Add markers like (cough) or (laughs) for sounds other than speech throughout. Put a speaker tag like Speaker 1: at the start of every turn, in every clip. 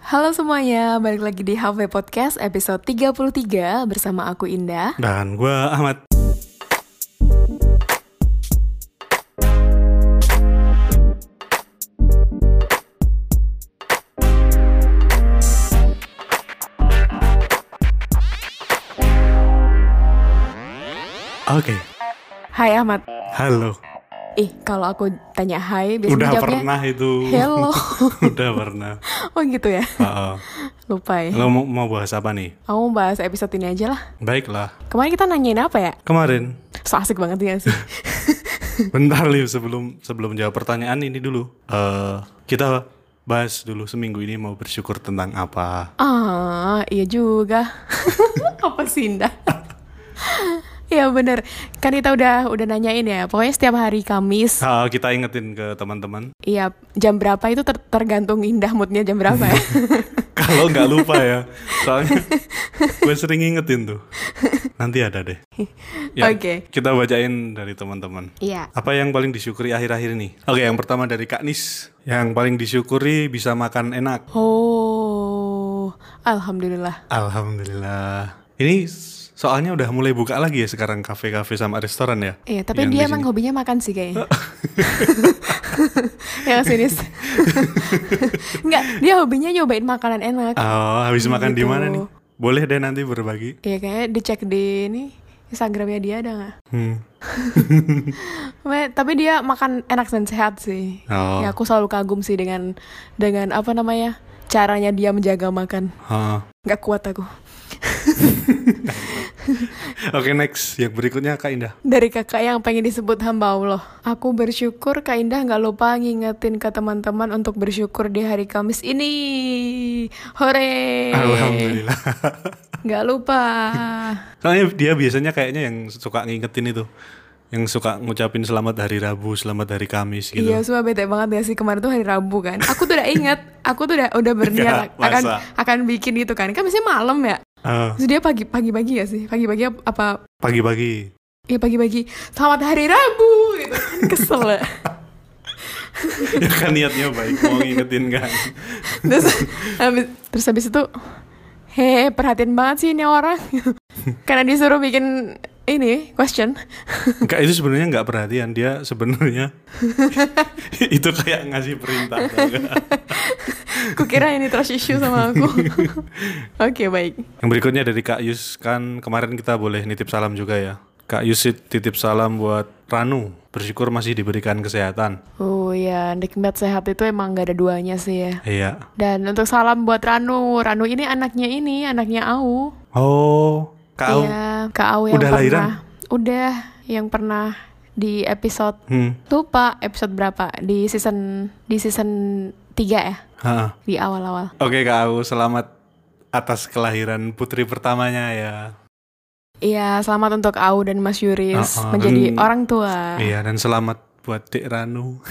Speaker 1: Halo semuanya, balik lagi di HV Podcast episode 33 bersama aku Indah.
Speaker 2: Dan gue Ahmad. Oke,
Speaker 1: Hai Ahmad.
Speaker 2: halo.
Speaker 1: Ih, kalau aku tanya hai, biasanya
Speaker 2: Udah
Speaker 1: jawabnya
Speaker 2: pernah itu.
Speaker 1: hello.
Speaker 2: (laughs) Udah pernah.
Speaker 1: Oh gitu ya, (laughs)
Speaker 2: Heeh.
Speaker 1: lupa ya.
Speaker 2: Lo mau, mau bahas apa nih?
Speaker 1: Aku mau bahas episode ini aja lah.
Speaker 2: Baiklah.
Speaker 1: Kemarin kita nanyain apa ya?
Speaker 2: Kemarin,
Speaker 1: So asik banget ya
Speaker 2: (laughs)
Speaker 1: sih.
Speaker 2: bentar Liv sebelum sebelum jawab pertanyaan ini dulu. Eh, kita bahas dulu seminggu ini mau bersyukur tentang apa.
Speaker 1: ah, iya juga. (laughs) apa sih
Speaker 2: (laughs)
Speaker 1: Indah? Iya bener, kan kita udah udah nanyain ya. Pokoknya setiap hari Kamis,
Speaker 2: Eh, kita ingetin ke teman-teman (laughs)
Speaker 1: iya jam berapa itu ter- tergantung Indah moodnya jam berapa
Speaker 2: (laughs)
Speaker 1: ya.
Speaker 2: kalau nggak lupa ya.
Speaker 1: (laughs)
Speaker 2: Soalnya gue sering ingetin tuh. Nanti ada deh. Ya,
Speaker 1: Oke.
Speaker 2: Kita bacain dari teman-teman.
Speaker 1: Iya.
Speaker 2: Apa yang paling disyukuri akhir-akhir ini? Oke, yang pertama dari Kak Nis. Yang paling disyukuri bisa makan enak.
Speaker 1: Oh, alhamdulillah.
Speaker 2: Alhamdulillah. Ini s- soalnya udah mulai buka lagi ya sekarang kafe-kafe sama restoran ya.
Speaker 1: Iya, tapi
Speaker 2: Yang
Speaker 1: dia
Speaker 2: di
Speaker 1: emang
Speaker 2: sini.
Speaker 1: hobinya makan sih
Speaker 2: (laughs)
Speaker 1: kayaknya. ya sinis. Enggak, dia hobinya nyobain makanan enak.
Speaker 2: Oh, habis makan di
Speaker 1: Gitu.
Speaker 2: mana nih? Boleh deh nanti berbagi.
Speaker 1: Iya, kayaknya dicek di ini Instagramnya dia ada nggak? (laughs)
Speaker 2: Hmm.
Speaker 1: Me- Tapi dia makan enak dan sehat sih.
Speaker 2: Oh.
Speaker 1: Ya aku selalu kagum sih dengan dengan apa namanya caranya dia menjaga makan.
Speaker 2: Ha.
Speaker 1: Nggak kuat aku.
Speaker 2: Oke, next. Yang berikutnya Kak Indah.
Speaker 1: Dari kakak yang pengen disebut hamba Allah. Aku bersyukur Kak Indah nggak lupa ngingetin ke teman-teman untuk bersyukur di hari Kamis ini. Hore!
Speaker 2: Alhamdulillah. (laughs)
Speaker 1: Nggak lupa.
Speaker 2: Soalnya dia biasanya kayaknya yang suka ngingetin itu. Yang suka ngucapin selamat hari Rabu, selamat hari Kamis (laughs) gitu.
Speaker 1: Iya, sumpah bete banget ya sih kemarin tuh hari Rabu kan. Aku tuh udah inget, aku tuh udah udah berniat
Speaker 2: Nggak,
Speaker 1: akan
Speaker 2: masa?
Speaker 1: akan bikin itu kan. Kan biasanya malam ya.
Speaker 2: Ah,
Speaker 1: Terus dia pagi pagi-pagi ya sih. Pagi-pagi ap- apa?
Speaker 2: pagi-pagi. (laughs)
Speaker 1: Ya pagi-pagi. Selamat hari Rabu gitu. Kan Kesel. ya.
Speaker 2: ya kan niatnya baik mau ngingetin kan.
Speaker 1: terus habis terus habis itu he perhatian banget sih ini orang (laughs) karena disuruh bikin ini question
Speaker 2: Enggak itu sebenarnya nggak perhatian dia
Speaker 1: (laughs)
Speaker 2: sebenarnya (laughs) itu kayak ngasih perintah. tau nggak?
Speaker 1: kukira ini trust issue sama
Speaker 2: (laughs)
Speaker 1: aku oke baik
Speaker 2: Yang berikutnya dari Kak Yus kan kemarin kita boleh nitip salam juga ya. Kak Yus titip salam buat Ranu. Bersyukur masih diberikan kesehatan.
Speaker 1: oh ya nikmat sehat itu emang gak ada duanya sih ya
Speaker 2: Iya.
Speaker 1: dan untuk salam buat Ranu Ranu ini anaknya ini anaknya Au
Speaker 2: Oh, Kak Au.
Speaker 1: iya Kak Au yang
Speaker 2: Udah
Speaker 1: pernah
Speaker 2: lahiran?
Speaker 1: udah yang pernah di episode
Speaker 2: Hmm.
Speaker 1: lupa episode berapa di season di season 3 ya
Speaker 2: ha-ha.
Speaker 1: di awal-awal
Speaker 2: Oke Kak Au, selamat atas kelahiran putri pertamanya ya.
Speaker 1: Iya, selamat untuk Au dan Mas Yuris
Speaker 2: Uh-uh.
Speaker 1: menjadi
Speaker 2: Dan-
Speaker 1: orang tua.
Speaker 2: Iya, dan selamat buat Dek Ranu.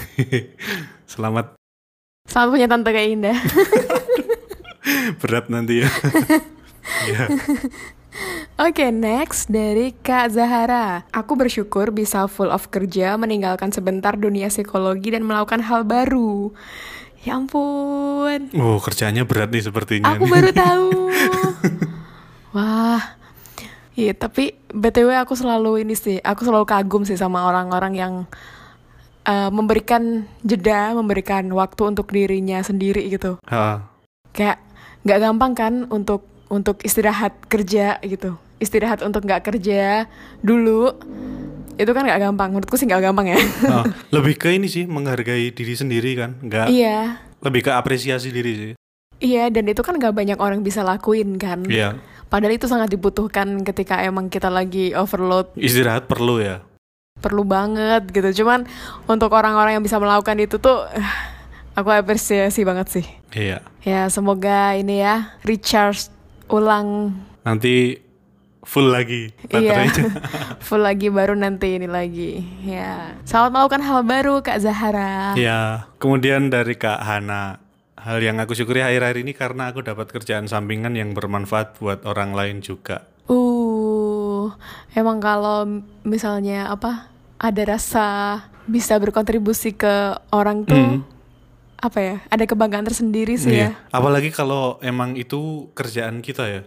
Speaker 2: (laughs) selamat
Speaker 1: Selamat punya tante kayak Indah. (laughs)
Speaker 2: berat nanti ya. Iya.
Speaker 1: Oke, next dari Kak Zahara. Aku bersyukur bisa full off kerja, meninggalkan sebentar dunia psikologi dan melakukan hal baru. Ya ampun,
Speaker 2: Oh, kerjanya berat nih sepertinya.
Speaker 1: aku
Speaker 2: nih.
Speaker 1: baru tahu. Wah. Iya, tapi BTW aku selalu ini sih, aku selalu kagum sih sama orang-orang yang eh, memberikan jeda, memberikan waktu untuk dirinya sendiri gitu.
Speaker 2: Ha.
Speaker 1: kayak nggak gampang kan untuk untuk istirahat kerja gitu istirahat untuk nggak kerja dulu itu kan nggak gampang menurutku sih nggak gampang ya
Speaker 2: Oh, lebih ke ini sih menghargai diri sendiri kan, nggak
Speaker 1: iya
Speaker 2: lebih ke apresiasi diri sih.
Speaker 1: iya dan itu kan nggak banyak orang bisa lakuin kan
Speaker 2: Iya,
Speaker 1: padahal itu sangat dibutuhkan ketika emang kita lagi overload
Speaker 2: Iya. istirahat perlu ya.
Speaker 1: perlu banget gitu cuman untuk orang-orang yang bisa melakukan itu tuh eh, aku apresiasi banget sih
Speaker 2: Iya.
Speaker 1: ya semoga ini ya recharge ulang
Speaker 2: Nanti full lagi
Speaker 1: Iya,
Speaker 2: baterainya.
Speaker 1: (laughs) full lagi baru nanti ini lagi. Ya, selamat melakukan hal baru Kak Zahara.
Speaker 2: (laughs) Iya. Kemudian dari Kak Hana, hal yang aku syukuri akhir-akhir ini karena aku dapat kerjaan sampingan yang bermanfaat buat orang lain juga.
Speaker 1: Uh, emang kalau misalnya apa ada rasa bisa berkontribusi ke orang tuh apa ya ada kebanggaan tersendiri sih
Speaker 2: Hmm. Iya.
Speaker 1: ya
Speaker 2: Apalagi kalau emang itu kerjaan kita ya.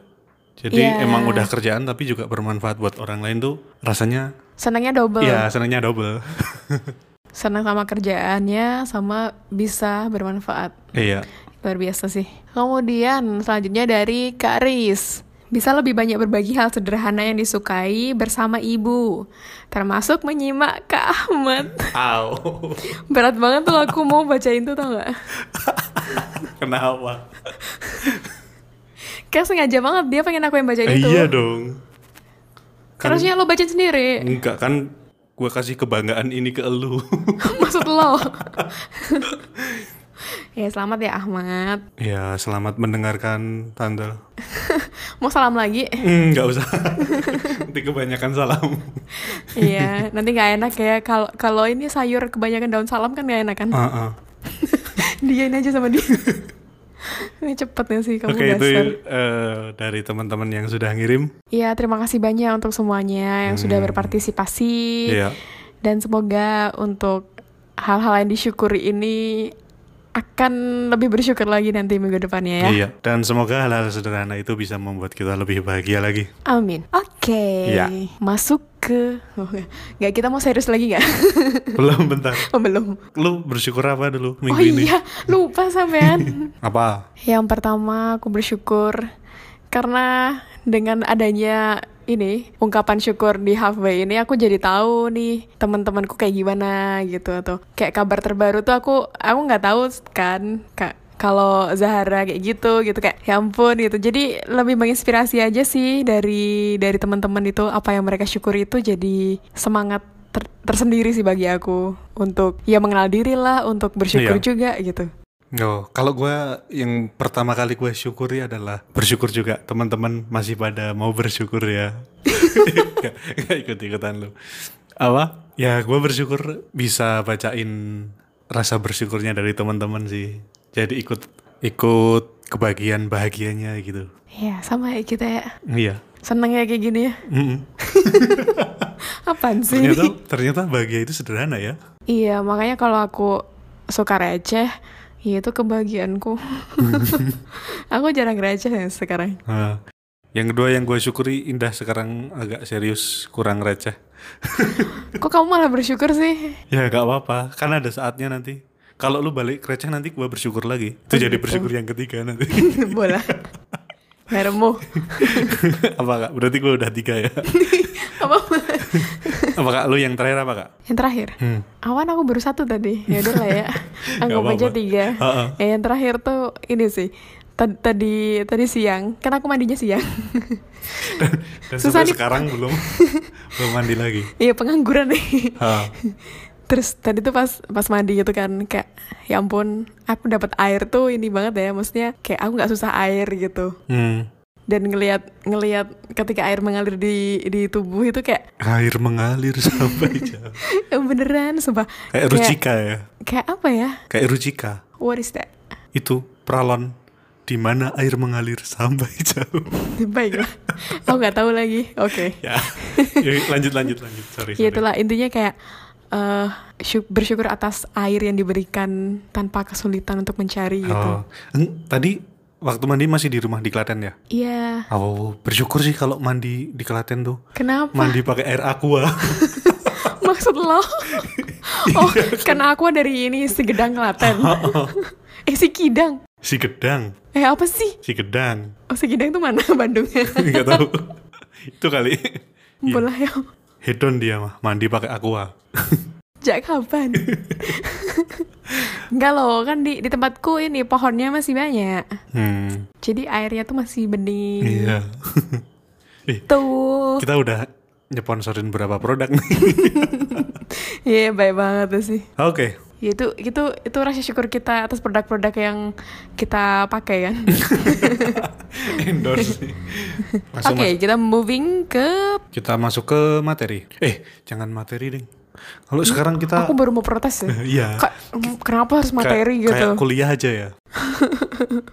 Speaker 2: Jadi
Speaker 1: Iya.
Speaker 2: emang udah kerjaan tapi juga bermanfaat buat orang lain tuh rasanya
Speaker 1: senangnya double
Speaker 2: ya senangnya double. (laughs)
Speaker 1: senang sama kerjaannya sama bisa bermanfaat
Speaker 2: iya.
Speaker 1: luar biasa sih kemudian selanjutnya dari Kak Riz bisa lebih banyak berbagi hal sederhana yang disukai bersama ibu termasuk menyimak Kak Ahmad (laughs)
Speaker 2: Au.
Speaker 1: berat banget tuh aku mau bacain tuh tau gak
Speaker 2: Kenapa?
Speaker 1: kayak sengaja banget dia pengen aku yang bacain
Speaker 2: Eh,
Speaker 1: itu
Speaker 2: iya dong. Kan-
Speaker 1: harusnya lo bacain sendiri (laughs)
Speaker 2: Enggak kan gue kasih kebanggaan ini ke elu.
Speaker 1: maksud lo ya selamat ya Ahmad
Speaker 2: (laughs) ya, selamat mendengarkan Tanda.
Speaker 1: mau salam lagi (laughs)
Speaker 2: Hmm, Enggak usah. (laughs) Nanti kebanyakan salam.
Speaker 1: iya nanti nggak enak ya kalau kalau ini sayur kebanyakan daun salam kan nggak enak kan
Speaker 2: Ah, ah.
Speaker 1: diain aja sama dia (laughs) ini cepet ya sih kamu
Speaker 2: Oke, itu
Speaker 1: dasar
Speaker 2: eh, dari teman-teman yang sudah ngirim.
Speaker 1: Iya, terima kasih banyak untuk semuanya yang sudah berpartisipasi
Speaker 2: Hmm. Iya.
Speaker 1: dan semoga untuk hal-hal yang disyukuri ini akan lebih bersyukur lagi nanti minggu depannya ya
Speaker 2: Iya, dan semoga hal-hal sederhana itu bisa membuat kita lebih bahagia lagi. (laughs)
Speaker 1: Amin. Oke.
Speaker 2: Iya.
Speaker 1: Masuk ke (laughs) oh, nggak kita mau serius lagi nggak? (laughs)
Speaker 2: Belum bentar.
Speaker 1: oh, belum.
Speaker 2: Lu bersyukur apa
Speaker 1: Oh
Speaker 2: dulu minggu ini?
Speaker 1: iya, lupa
Speaker 2: (laughs)
Speaker 1: sampean.
Speaker 2: Apa?
Speaker 1: Yang pertama aku bersyukur karena dengan adanya ini ungkapan syukur di halfway ini aku jadi tahu nih teman-temanku kayak gimana gitu atau kayak kabar terbaru tuh aku aku nggak tahu kan kak kalau Zahara kayak gitu gitu kayak ya ampun gitu jadi lebih menginspirasi aja sih dari dari teman-teman itu apa yang mereka syukuri itu jadi semangat ter- tersendiri sih bagi aku untuk ya mengenal diri lah untuk bersyukur
Speaker 2: Iya.
Speaker 1: juga gitu
Speaker 2: Oh, kalau gua yang pertama kali gue syukuri adalah bersyukur juga teman-teman masih pada mau bersyukur ya. (laughs) Nggak- nggak ikut-ikutan lu. Apa? Ya gua bersyukur bisa bacain rasa bersyukurnya dari teman-teman sih. Jadi ikut ikut kebagian bahagianya gitu.
Speaker 1: ya sama ya kita ya
Speaker 2: Iya.
Speaker 1: Seneng ya kayak gini ya?
Speaker 2: Mm-mm.
Speaker 1: Apaan sih?
Speaker 2: Ternyata
Speaker 1: (laughs)
Speaker 2: ternyata bahagia itu sederhana ya.
Speaker 1: iya, makanya kalau aku suka receh, ya itu
Speaker 2: (laughs)
Speaker 1: kebahagiaanku. aku jarang receh ya sekarang.
Speaker 2: Nah, yang kedua yang gue syukuri indah sekarang agak serius kurang receh.
Speaker 1: Kok kamu malah bersyukur sih? (laughs)
Speaker 2: Ya gak apa-apa, kan ada saatnya nanti. Kalau lu balik ke receh nanti gue bersyukur lagi. Itu
Speaker 1: Oh,
Speaker 2: jadi
Speaker 1: gitu.
Speaker 2: bersyukur yang ketiga nanti. (laughs)
Speaker 1: Bola. Hermu.
Speaker 2: apa kak? Berarti gue udah tiga
Speaker 1: (laughs)
Speaker 2: ya.
Speaker 1: Apa?
Speaker 2: apa kak? Lu yang terakhir apa kak?
Speaker 1: Yang terakhir.
Speaker 2: Hmm.
Speaker 1: Awan aku baru satu tadi. Ya udah lah
Speaker 2: (laughs)
Speaker 1: ya. Anggap
Speaker 2: apa-apa.
Speaker 1: aja
Speaker 2: (laughs)
Speaker 1: tiga.
Speaker 2: Ha-ha.
Speaker 1: Ya, yang terakhir tuh ini sih. Tad- Tadi tadi siang, kan aku mandinya siang. (laughs)
Speaker 2: Dan
Speaker 1: Susah
Speaker 2: sampai
Speaker 1: nih.
Speaker 2: sekarang
Speaker 1: (laughs)
Speaker 2: belum belum mandi lagi.
Speaker 1: Iya pengangguran nih.
Speaker 2: Ha.
Speaker 1: Terus tadi tuh pas pas mandi gitu kan kayak ya ampun aku dapat air tuh ini banget ya maksudnya kayak aku nggak susah air gitu
Speaker 2: Hmm.
Speaker 1: dan ngelihat ngelihat ketika air mengalir di di tubuh itu kayak (laughs)
Speaker 2: Air mengalir (laughs) sampai jauh.
Speaker 1: beneran sumpah
Speaker 2: Kayak rucika ya.
Speaker 1: kayak apa ya
Speaker 2: Kayak rucika.
Speaker 1: what is that (laughs)
Speaker 2: Itu pralon di mana air mengalir sampai (laughs) jauh. (laughs)
Speaker 1: baiklah aku nggak tahu lagi oke
Speaker 2: ya. Ya, lanjut lanjut lanjut.
Speaker 1: ya
Speaker 2: Sorry. sorry.
Speaker 1: itulah intinya kayak eh syuk- bersyukur atas air yang diberikan tanpa kesulitan untuk mencari gitu
Speaker 2: Oh. Eng, Tadi waktu mandi masih di rumah di Klaten ya?
Speaker 1: iya
Speaker 2: Oh, bersyukur sih kalau mandi di Klaten tuh.
Speaker 1: kenapa
Speaker 2: Mandi pakai air aqua. (laughs)
Speaker 1: Maksud lo?
Speaker 2: Iya,
Speaker 1: Oh, karena aku dari ini si Gedang
Speaker 2: (laughs)
Speaker 1: Klaten.
Speaker 2: Oh.
Speaker 1: eh si Kidang.
Speaker 2: si gedang,
Speaker 1: Eh apa sih?
Speaker 2: si gedang. (laughs)
Speaker 1: Oh si Kidang tuh mana (laughs) Bandungnya? (laughs)
Speaker 2: Enggak tahu. Itu kali. Iya.
Speaker 1: Bola ya.
Speaker 2: Hedon dia mah, mandi pakai aqua.
Speaker 1: Sejak
Speaker 2: (laughs)
Speaker 1: kapan? Enggak loh, kan di di tempatku ini pohonnya masih banyak.
Speaker 2: Hmm.
Speaker 1: Jadi airnya tuh masih bening.
Speaker 2: Iya.
Speaker 1: Hmm.
Speaker 2: Eh,
Speaker 1: Tuh.
Speaker 2: kita udah nyeponsorin berapa produk nih. (laughs)
Speaker 1: Iya, baik banget tuh sih.
Speaker 2: Oke.
Speaker 1: Ya, Itu itu itu rasa syukur kita atas produk-produk yang kita pakai kan.
Speaker 2: (laughs) Endorse. nih. Langsung
Speaker 1: Oke, kita moving ke
Speaker 2: masuk. Kita masuk ke materi. Eh, jangan materi, Ding. Kalau sekarang kita
Speaker 1: aku baru mau protes ya.
Speaker 2: (laughs) Iya.
Speaker 1: Kak, mm, kenapa harus materi
Speaker 2: Kayak-
Speaker 1: gitu?
Speaker 2: Kayak kuliah aja
Speaker 1: (laughs)
Speaker 2: ya.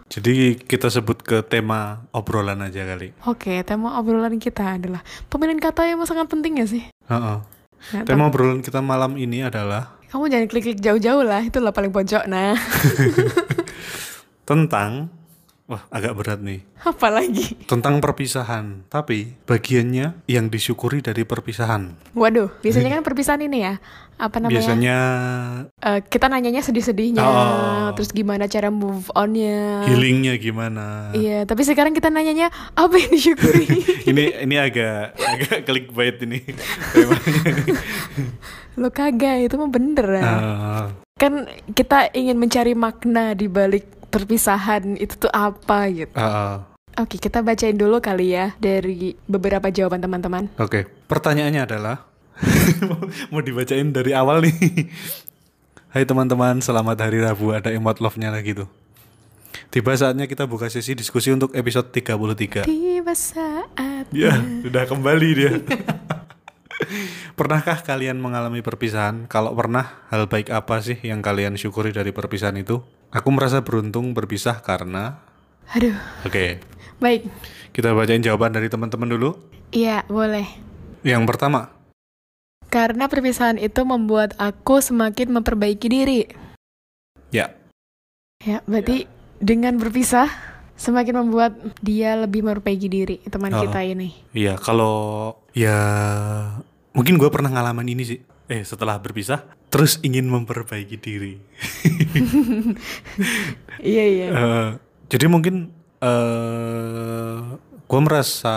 Speaker 2: Jadi kita sebut ke tema obrolan aja kali.
Speaker 1: Oke, tema obrolan kita adalah pemilihan kata yang sangat penting ya sih.
Speaker 2: Heeh.
Speaker 1: Nggak
Speaker 2: Tema obrolan kita malam ini adalah
Speaker 1: tahu. Kamu jangan klik-klik jauh-jauh lah, itulah paling pojok. Nah, (laughs)
Speaker 2: Tentang wah agak berat nih.
Speaker 1: apalagi.
Speaker 2: Tentang perpisahan, tapi bagiannya yang disyukuri dari perpisahan.
Speaker 1: Waduh, biasanya kan perpisahan ini ya. Apa namanya?
Speaker 2: Biasanya
Speaker 1: Eh, kita nanyanya sedih-sedihnya,
Speaker 2: Oh.
Speaker 1: terus gimana cara move on-nya.
Speaker 2: healingnya gimana?
Speaker 1: Iya, tapi sekarang kita nanyanya apa yang disyukuri? (laughs)
Speaker 2: ini ini agak agak clickbait ini. temanya.
Speaker 1: Lo kagak, itu mah beneran.
Speaker 2: Eh,
Speaker 1: Kan kita ingin mencari makna di balik perpisahan itu tuh apa gitu.
Speaker 2: eh,
Speaker 1: Oke, kita bacain dulu kali ya dari beberapa jawaban teman-teman.
Speaker 2: Oke, pertanyaannya adalah (laughs) mau- mau dibacain dari awal nih. Hai teman-teman, selamat hari Rabu. Ada emot love-nya lagi tuh. Tiba saatnya kita buka sesi diskusi untuk episode 33.
Speaker 1: Tiba saat
Speaker 2: Ya, sudah kembali dia. (laughs) Pernahkah kalian mengalami perpisahan? Kalau pernah, hal baik apa sih yang kalian syukuri dari perpisahan itu? Aku merasa beruntung berpisah karena
Speaker 1: Aduh,
Speaker 2: Oke,
Speaker 1: baik.
Speaker 2: kita bacain jawaban dari teman-teman dulu.
Speaker 1: Iya, boleh.
Speaker 2: Yang pertama,
Speaker 1: Karena perpisahan itu membuat aku semakin memperbaiki diri.
Speaker 2: ya,
Speaker 1: Ya, berarti dengan berpisah semakin membuat dia lebih memperbaiki diri teman
Speaker 2: Oh.
Speaker 1: kita ini.
Speaker 2: Iya, kalau ya mungkin gue pernah ngalaman ini sih. Eh, setelah berpisah, terus ingin memperbaiki diri.
Speaker 1: Iya,
Speaker 2: (laughs)
Speaker 1: iya.
Speaker 2: Eh, jadi mungkin eh gue merasa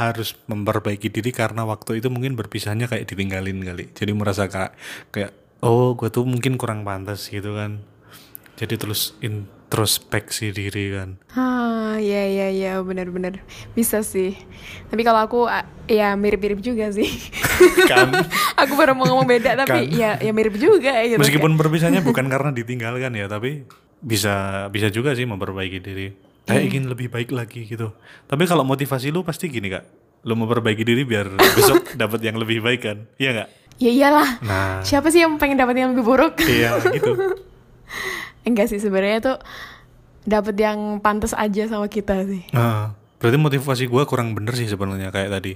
Speaker 2: harus memperbaiki diri karena waktu itu mungkin berpisahnya kayak ditinggalin kali. Jadi merasa kayak kayak oh gue tuh mungkin kurang pantas gitu kan. Jadi terus introspeksi diri kan.
Speaker 1: Ah, ya ya ya, benar-benar bisa sih. Tapi kalau aku a- ya mirip-mirip juga sih.
Speaker 2: (laughs) Kan
Speaker 1: (laughs) aku baru mau ngomong beda tapi
Speaker 2: Kan.
Speaker 1: ya ya mirip juga gitu.
Speaker 2: Meskipun berpisahnya bukan karena ditinggalkan ya, tapi bisa bisa juga sih memperbaiki diri. Kayak ingin lebih baik lagi gitu. Tapi kalau motivasi lu pasti gini kak, lu memperbaiki diri biar (laughs) besok dapat yang lebih baik kan, iya nggak?
Speaker 1: ya iyalah.
Speaker 2: Nah,
Speaker 1: Siapa sih yang pengen dapat yang lebih buruk? (laughs)
Speaker 2: iya gitu.
Speaker 1: Enggak sih sebenarnya tuh dapat yang pantas aja sama kita sih.
Speaker 2: Nah, berarti motivasi gua kurang bener sih sebenarnya kayak tadi.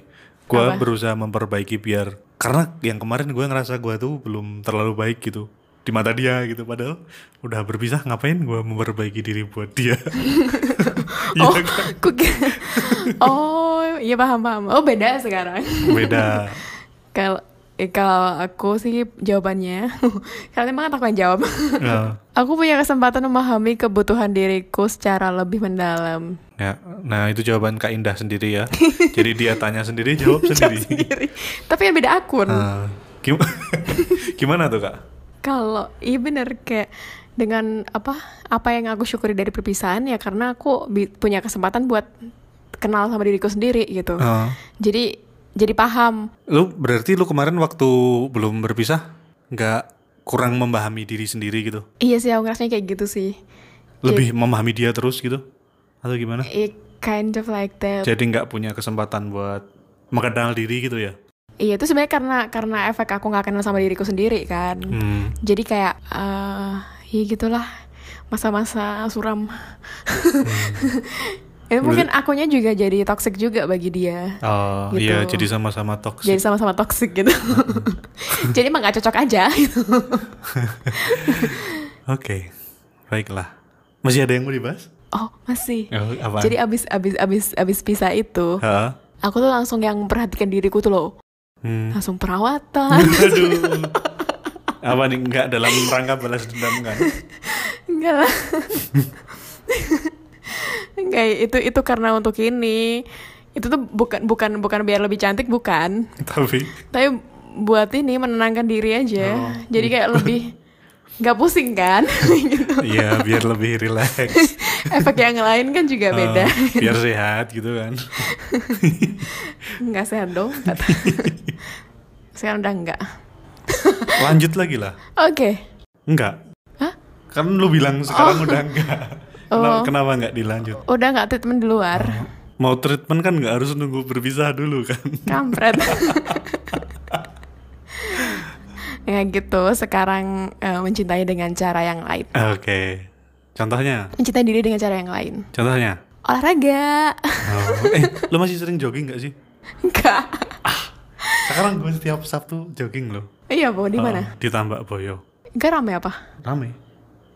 Speaker 1: Apa?
Speaker 2: Gua berusaha memperbaiki biar karena yang kemarin gua ngerasa gua tuh belum terlalu baik gitu di mata dia gitu padahal udah berpisah ngapain gua memperbaiki diri buat dia. (laughs) Iya
Speaker 1: Oh,
Speaker 2: kan?
Speaker 1: (laughs) ku kira- oh, iya paham paham. Oh, beda sekarang.
Speaker 2: beda
Speaker 1: Kalau eh, kalau aku sih jawabannya (laughs) karena emang aku yang jawab. (laughs)
Speaker 2: ya
Speaker 1: Aku punya kesempatan memahami kebutuhan diriku secara lebih mendalam.
Speaker 2: Ya, nah itu jawaban kak Indah sendiri
Speaker 1: (laughs)
Speaker 2: ya jadi dia tanya sendiri jawab sendiri (laughs)
Speaker 1: Sendiri. Tapi kan beda akun.
Speaker 2: Nah, gim- (laughs) gimana tuh kak
Speaker 1: Kalau iya bener kayak dengan apa apa yang aku syukuri dari perpisahan ya karena aku bi- punya kesempatan buat kenal sama diriku sendiri gitu.
Speaker 2: Eh,
Speaker 1: Jadi jadi paham.
Speaker 2: lu berarti lu kemarin waktu belum berpisah nggak kurang memahami diri sendiri gitu
Speaker 1: Iya sih aku ngerasanya kayak gitu sih.
Speaker 2: lebih memahami dia terus gitu atau gimana
Speaker 1: It kind of like that.
Speaker 2: jadi nggak punya kesempatan buat mengenal diri gitu ya
Speaker 1: Iya itu sebenarnya karena karena efek aku nggak kenal sama diriku sendiri kan.
Speaker 2: hmm.
Speaker 1: Jadi kayak eh ya gitulah masa-masa suram. (laughs) Itu mungkin akunya juga jadi toxic juga bagi dia.
Speaker 2: Oh,
Speaker 1: Gitu.
Speaker 2: iya jadi sama-sama
Speaker 1: Jadi
Speaker 2: toksik
Speaker 1: sama-sama toxic gitu. jadi emang gak cocok aja. gitu.
Speaker 2: oke baiklah masih ada yang mau dibahas
Speaker 1: Oh masih.
Speaker 2: oh, apa
Speaker 1: Jadi abis abis abis abis pisah itu, aku tuh langsung yang memperhatikan diriku tuh loh,
Speaker 2: Hmm.
Speaker 1: langsung
Speaker 2: (laughs)
Speaker 1: perawatan.
Speaker 2: Aduh. Apa nih enggak dalam rangka balas dendam kan?
Speaker 1: Enggak lah. Enggak, itu itu karena untuk ini. Itu tuh bukan bukan bukan biar lebih cantik bukan,
Speaker 2: Tapi
Speaker 1: tapi buat ini menenangkan diri aja.
Speaker 2: Oh.
Speaker 1: Jadi kayak lebih nggak pusing kan? gitu.
Speaker 2: ya biar lebih
Speaker 1: (laughs)
Speaker 2: rileks.
Speaker 1: Efek yang lain kan juga beda.
Speaker 2: Eh, biar sehat gitu kan.
Speaker 1: Enggak sehat dong.
Speaker 2: (laughs)
Speaker 1: kata. Sekarang udah enggak.
Speaker 2: Lanjut lagi lah.
Speaker 1: Oke.
Speaker 2: Enggak.
Speaker 1: Hah? Oh.
Speaker 2: Kan lu bilang sekarang udah
Speaker 1: (laughs)
Speaker 2: enggak. Kenapa, kenapa enggak dilanjut?
Speaker 1: Udah nggak treatment di luar.
Speaker 2: Oh. Mau treatment kan enggak harus nunggu berpisah dulu kan. (laughs)
Speaker 1: Kampret. ya gitu, sekarang eh, mencintai dengan cara yang lain.
Speaker 2: Oke. Contohnya,
Speaker 1: Mencintai diri dengan cara yang lain.
Speaker 2: contohnya.
Speaker 1: Olahraga. (laughs)
Speaker 2: Oh, Eh, lu masih sering jogging enggak sih?
Speaker 1: Enggak.
Speaker 2: Sekarang gue setiap Sabtu jogging loh.
Speaker 1: Iya, Bo, di mana?
Speaker 2: Oh, di Tambak Boyo.
Speaker 1: Gak rame apa?
Speaker 2: Rame.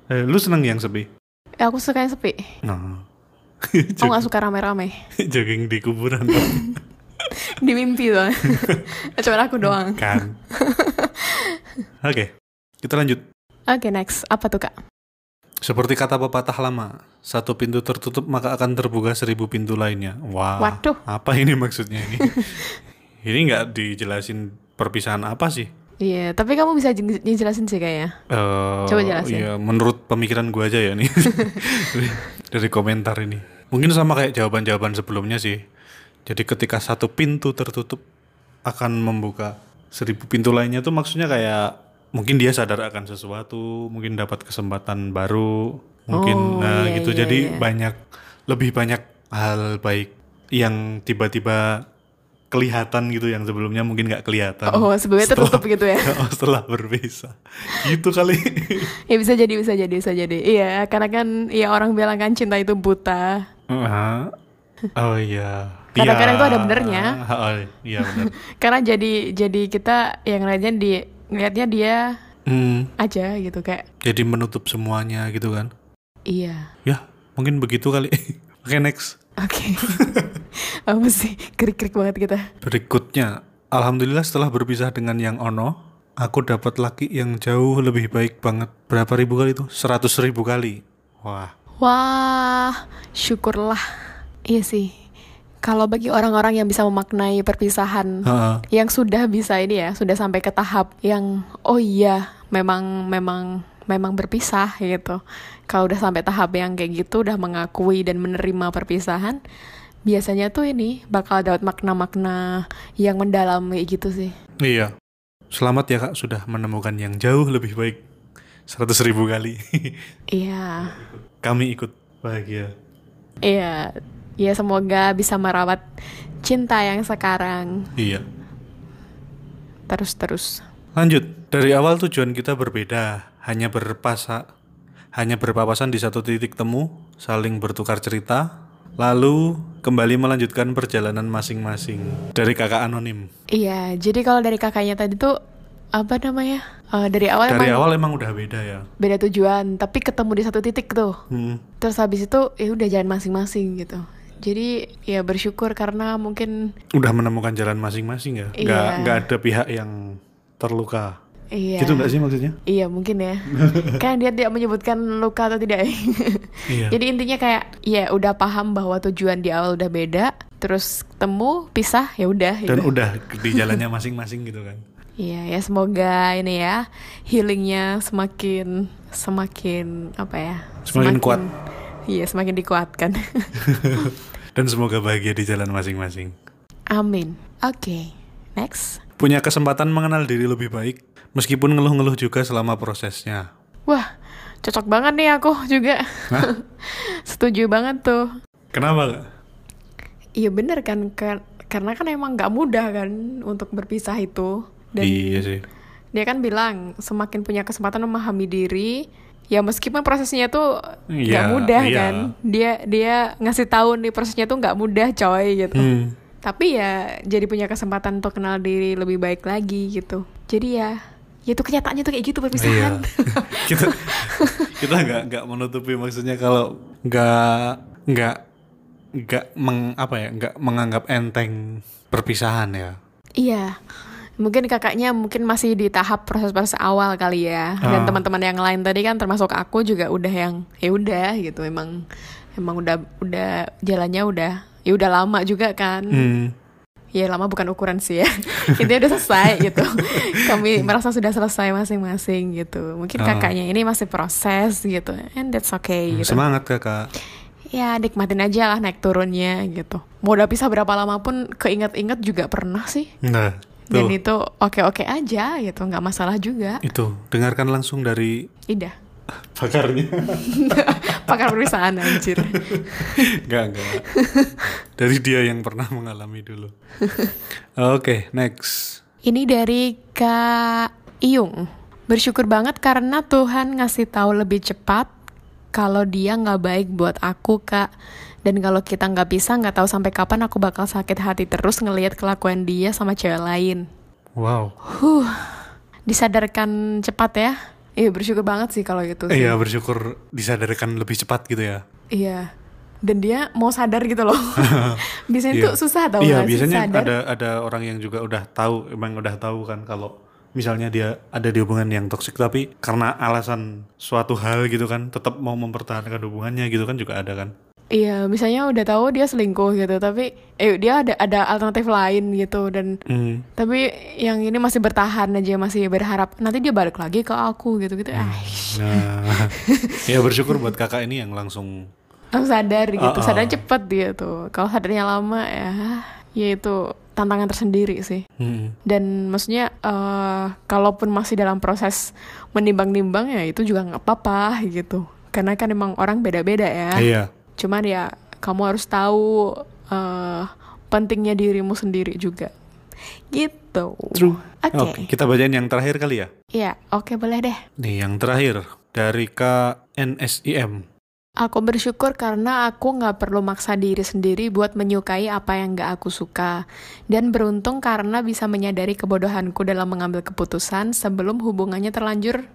Speaker 2: Eh, lu seneng yang sepi?
Speaker 1: Eh, aku suka yang sepi.
Speaker 2: Nah.
Speaker 1: (laughs) Aku Oh, nggak suka rame-rame.
Speaker 2: Jogging di kuburan
Speaker 1: Di mimpi
Speaker 2: (laughs)
Speaker 1: tuh. Cuman aku doang. (laughs)
Speaker 2: kan. Oke, kita lanjut.
Speaker 1: Oke, next. Apa tuh, Kak?
Speaker 2: Seperti kata pepatah lama, satu pintu tertutup maka akan terbuka seribu pintu lainnya. Wah,
Speaker 1: Waduh.
Speaker 2: apa ini maksudnya
Speaker 1: (laughs)
Speaker 2: ini? ini nggak dijelasin perpisahan apa sih?
Speaker 1: Iya, tapi kamu bisa jen- jelasin sih kayaknya.
Speaker 2: Eh,
Speaker 1: Coba jelasin.
Speaker 2: iya, menurut pemikiran gua aja ya
Speaker 1: (laughs)
Speaker 2: nih Dari- dari komentar ini. Mungkin sama kayak jawaban-jawaban sebelumnya sih. Jadi ketika satu pintu tertutup akan membuka seribu pintu lainnya tuh maksudnya kayak mungkin dia sadar akan sesuatu, mungkin dapat kesempatan baru, mungkin
Speaker 1: Oh,
Speaker 2: nah
Speaker 1: iya,
Speaker 2: gitu.
Speaker 1: iya,
Speaker 2: Jadi
Speaker 1: iya.
Speaker 2: banyak lebih banyak hal baik yang tiba-tiba kelihatan gitu yang sebelumnya mungkin nggak kelihatan.
Speaker 1: Oh, sebelumnya tertutup gitu ya.
Speaker 2: (laughs) Oh, setelah berpisah. Gitu kali.
Speaker 1: Ya bisa jadi, bisa jadi, bisa jadi. Iya, karena kan ya orang bilang kan cinta itu buta.
Speaker 2: Ah. oh iya.
Speaker 1: Kadang-kadang
Speaker 2: Iya.
Speaker 1: itu ada benernya.
Speaker 2: Oh, iya bener.
Speaker 1: Karena jadi jadi kita yang lainnya di ngelihatnya dia
Speaker 2: Hmm,
Speaker 1: aja gitu kayak
Speaker 2: jadi menutup semuanya gitu kan.
Speaker 1: iya.
Speaker 2: Ya, mungkin begitu kali. (laughs) Oke, next.
Speaker 1: Oke. Apa sih? Krik-krik banget kita.
Speaker 2: Berikutnya, alhamdulillah setelah berpisah dengan yang ono, aku dapat laki yang jauh lebih baik banget. Berapa ribu kali itu? Seratus ribu kali. Wah.
Speaker 1: Wah, syukurlah. Iya sih. Kalau bagi orang-orang yang bisa memaknai perpisahan
Speaker 2: Heeh.
Speaker 1: yang sudah bisa ini ya, sudah sampai ke tahap yang oh iya, memang memang memang berpisah gitu. Kalau udah sampai tahap yang kayak gitu udah mengakui dan menerima perpisahan, biasanya tuh ini bakal dapat makna-makna yang mendalam kayak gitu sih.
Speaker 2: Iya. Selamat ya kak sudah menemukan yang jauh lebih baik. Seratus ribu kali. (laughs)
Speaker 1: Iya.
Speaker 2: Kami ikut bahagia.
Speaker 1: Iya. Ya semoga bisa merawat cinta yang sekarang
Speaker 2: Iya.
Speaker 1: terus-terus.
Speaker 2: Lanjut. Dari awal tujuan kita berbeda. Hanya berpasa, hanya berpapasan di satu titik temu, saling bertukar cerita, lalu kembali melanjutkan perjalanan masing-masing. Dari kakak anonim.
Speaker 1: Iya, jadi kalau dari kakaknya tadi tuh apa namanya? Eh, dari awal
Speaker 2: Dari
Speaker 1: emang
Speaker 2: awal emang udah beda ya.
Speaker 1: beda tujuan, tapi ketemu di satu titik tuh.
Speaker 2: Hmm.
Speaker 1: Terus habis itu ya udah jalan masing-masing gitu. Jadi ya bersyukur karena mungkin
Speaker 2: Udah menemukan jalan masing-masing ya. Nggak
Speaker 1: Iya.
Speaker 2: nggak ada pihak yang terluka.
Speaker 1: iya.
Speaker 2: Gitu nggak sih maksudnya?
Speaker 1: Iya mungkin
Speaker 2: (laughs)
Speaker 1: ya. kan dia tidak menyebutkan luka atau tidak.
Speaker 2: Iya.
Speaker 1: (laughs) Jadi intinya kayak ya udah paham bahwa tujuan di awal udah beda, terus ketemu, pisah, ya udah
Speaker 2: dan
Speaker 1: gitu.
Speaker 2: udah di jalannya masing-masing gitu kan
Speaker 1: Iya, ya semoga ini ya healingnya semakin semakin apa ya?
Speaker 2: Semakin kuat.
Speaker 1: Iya, semakin dikuatkan. (laughs)
Speaker 2: dan semoga bahagia di jalan masing-masing
Speaker 1: Amin. Oke, next.
Speaker 2: punya kesempatan mengenal diri lebih baik meskipun ngeluh-ngeluh juga selama prosesnya
Speaker 1: Wah, cocok banget nih aku juga.
Speaker 2: Hah?
Speaker 1: (laughs) Setuju banget tuh.
Speaker 2: kenapa Kak?
Speaker 1: Iya bener kan, kar- karena kan emang nggak mudah kan untuk berpisah itu. Dan
Speaker 2: iya sih
Speaker 1: dia kan bilang semakin punya kesempatan memahami diri ya meskipun prosesnya tuh nggak
Speaker 2: Iya,
Speaker 1: mudah
Speaker 2: iya.
Speaker 1: kan dia dia ngasih tahu nih prosesnya tuh nggak mudah coy gitu
Speaker 2: Hmm.
Speaker 1: tapi ya jadi punya kesempatan untuk kenal diri lebih baik lagi gitu jadi ya ya itu kenyataannya tuh kayak gitu perpisahan
Speaker 2: Iya. (laughs) kita kita nggak nggak menutupi maksudnya kalau nggak nggak nggak meng apa ya nggak menganggap enteng perpisahan ya
Speaker 1: Iya. Mungkin kakaknya mungkin masih di tahap proses-proses awal kali ya. Dan
Speaker 2: Ah.
Speaker 1: teman-teman yang lain tadi kan termasuk aku juga udah yang ya udah gitu emang emang udah udah jalannya udah ya udah lama juga kan.
Speaker 2: Hmm.
Speaker 1: Ya lama bukan ukuran sih ya. (laughs) Intinya udah selesai
Speaker 2: (laughs)
Speaker 1: gitu. Kami merasa sudah selesai masing-masing gitu. Mungkin
Speaker 2: Ah. Hmm,
Speaker 1: kakaknya ini masih proses gitu. And that's okay gitu.
Speaker 2: semangat kakak
Speaker 1: Ya nikmatin aja lah naik turunnya gitu. Mau udah pisah berapa lama pun keinget-inget juga pernah sih.
Speaker 2: nah
Speaker 1: Dan
Speaker 2: tuh
Speaker 1: itu oke-oke aja gitu, nggak masalah juga.
Speaker 2: itu dengarkan langsung dari
Speaker 1: Ida.
Speaker 2: (laughs) pakarnya
Speaker 1: (laughs) Pakar perusahaan anjir.
Speaker 2: Enggak,
Speaker 1: (laughs)
Speaker 2: enggak. Dari dia yang pernah mengalami dulu. Oke, next.
Speaker 1: Ini dari Kak Iyung. Bersyukur banget karena Tuhan ngasih tahu lebih cepat kalau dia nggak baik buat aku, Kak. Dan kalau kita nggak bisa, nggak tahu sampai kapan aku bakal sakit hati terus ngelihat kelakuan dia sama cewek lain.
Speaker 2: Wow.
Speaker 1: Huh. disadarkan cepat ya. Iya bersyukur banget sih kalau gitu. sih.
Speaker 2: Iya bersyukur disadarkan lebih cepat gitu ya.
Speaker 1: Iya. Dan dia mau sadar gitu
Speaker 2: (laughs)
Speaker 1: loh. biasanya
Speaker 2: Iya.
Speaker 1: tuh susah tau
Speaker 2: Iya
Speaker 1: nggak sih
Speaker 2: biasanya
Speaker 1: sadar.
Speaker 2: ada ada orang yang juga udah tahu emang udah tahu kan kalau misalnya dia ada di hubungan yang toksik tapi karena alasan suatu hal gitu kan tetap mau mempertahankan hubungannya gitu kan juga ada kan.
Speaker 1: Iya, misalnya udah tahu dia selingkuh gitu, tapi eh dia ada ada alternatif lain gitu dan
Speaker 2: Hmm.
Speaker 1: tapi yang ini masih bertahan aja masih berharap nanti dia balik lagi ke aku gitu
Speaker 2: Hmm.
Speaker 1: gitu. Ah,
Speaker 2: Nah, ya bersyukur buat kakak ini yang langsung
Speaker 1: aku sadar gitu,
Speaker 2: Uh-uh.
Speaker 1: sadar cepet dia tuh. Kalau sadarnya lama ya, ya itu tantangan tersendiri sih.
Speaker 2: Hmm.
Speaker 1: Dan maksudnya eh kalaupun masih dalam proses menimbang-nimbang ya itu juga nggak apa-apa gitu. Karena kan emang orang beda-beda ya.
Speaker 2: Iya.
Speaker 1: Cuman ya kamu harus tahu eh, pentingnya dirimu sendiri juga. Gitu.
Speaker 2: True.
Speaker 1: Oke.
Speaker 2: kita bacain yang terakhir kali ya.
Speaker 1: Iya, oke boleh deh.
Speaker 2: Nih yang terakhir dari KNSIM.
Speaker 1: Aku bersyukur karena aku nggak perlu maksa diri sendiri buat menyukai apa yang nggak aku suka. Dan beruntung karena bisa menyadari kebodohanku dalam mengambil keputusan sebelum hubungannya terlanjur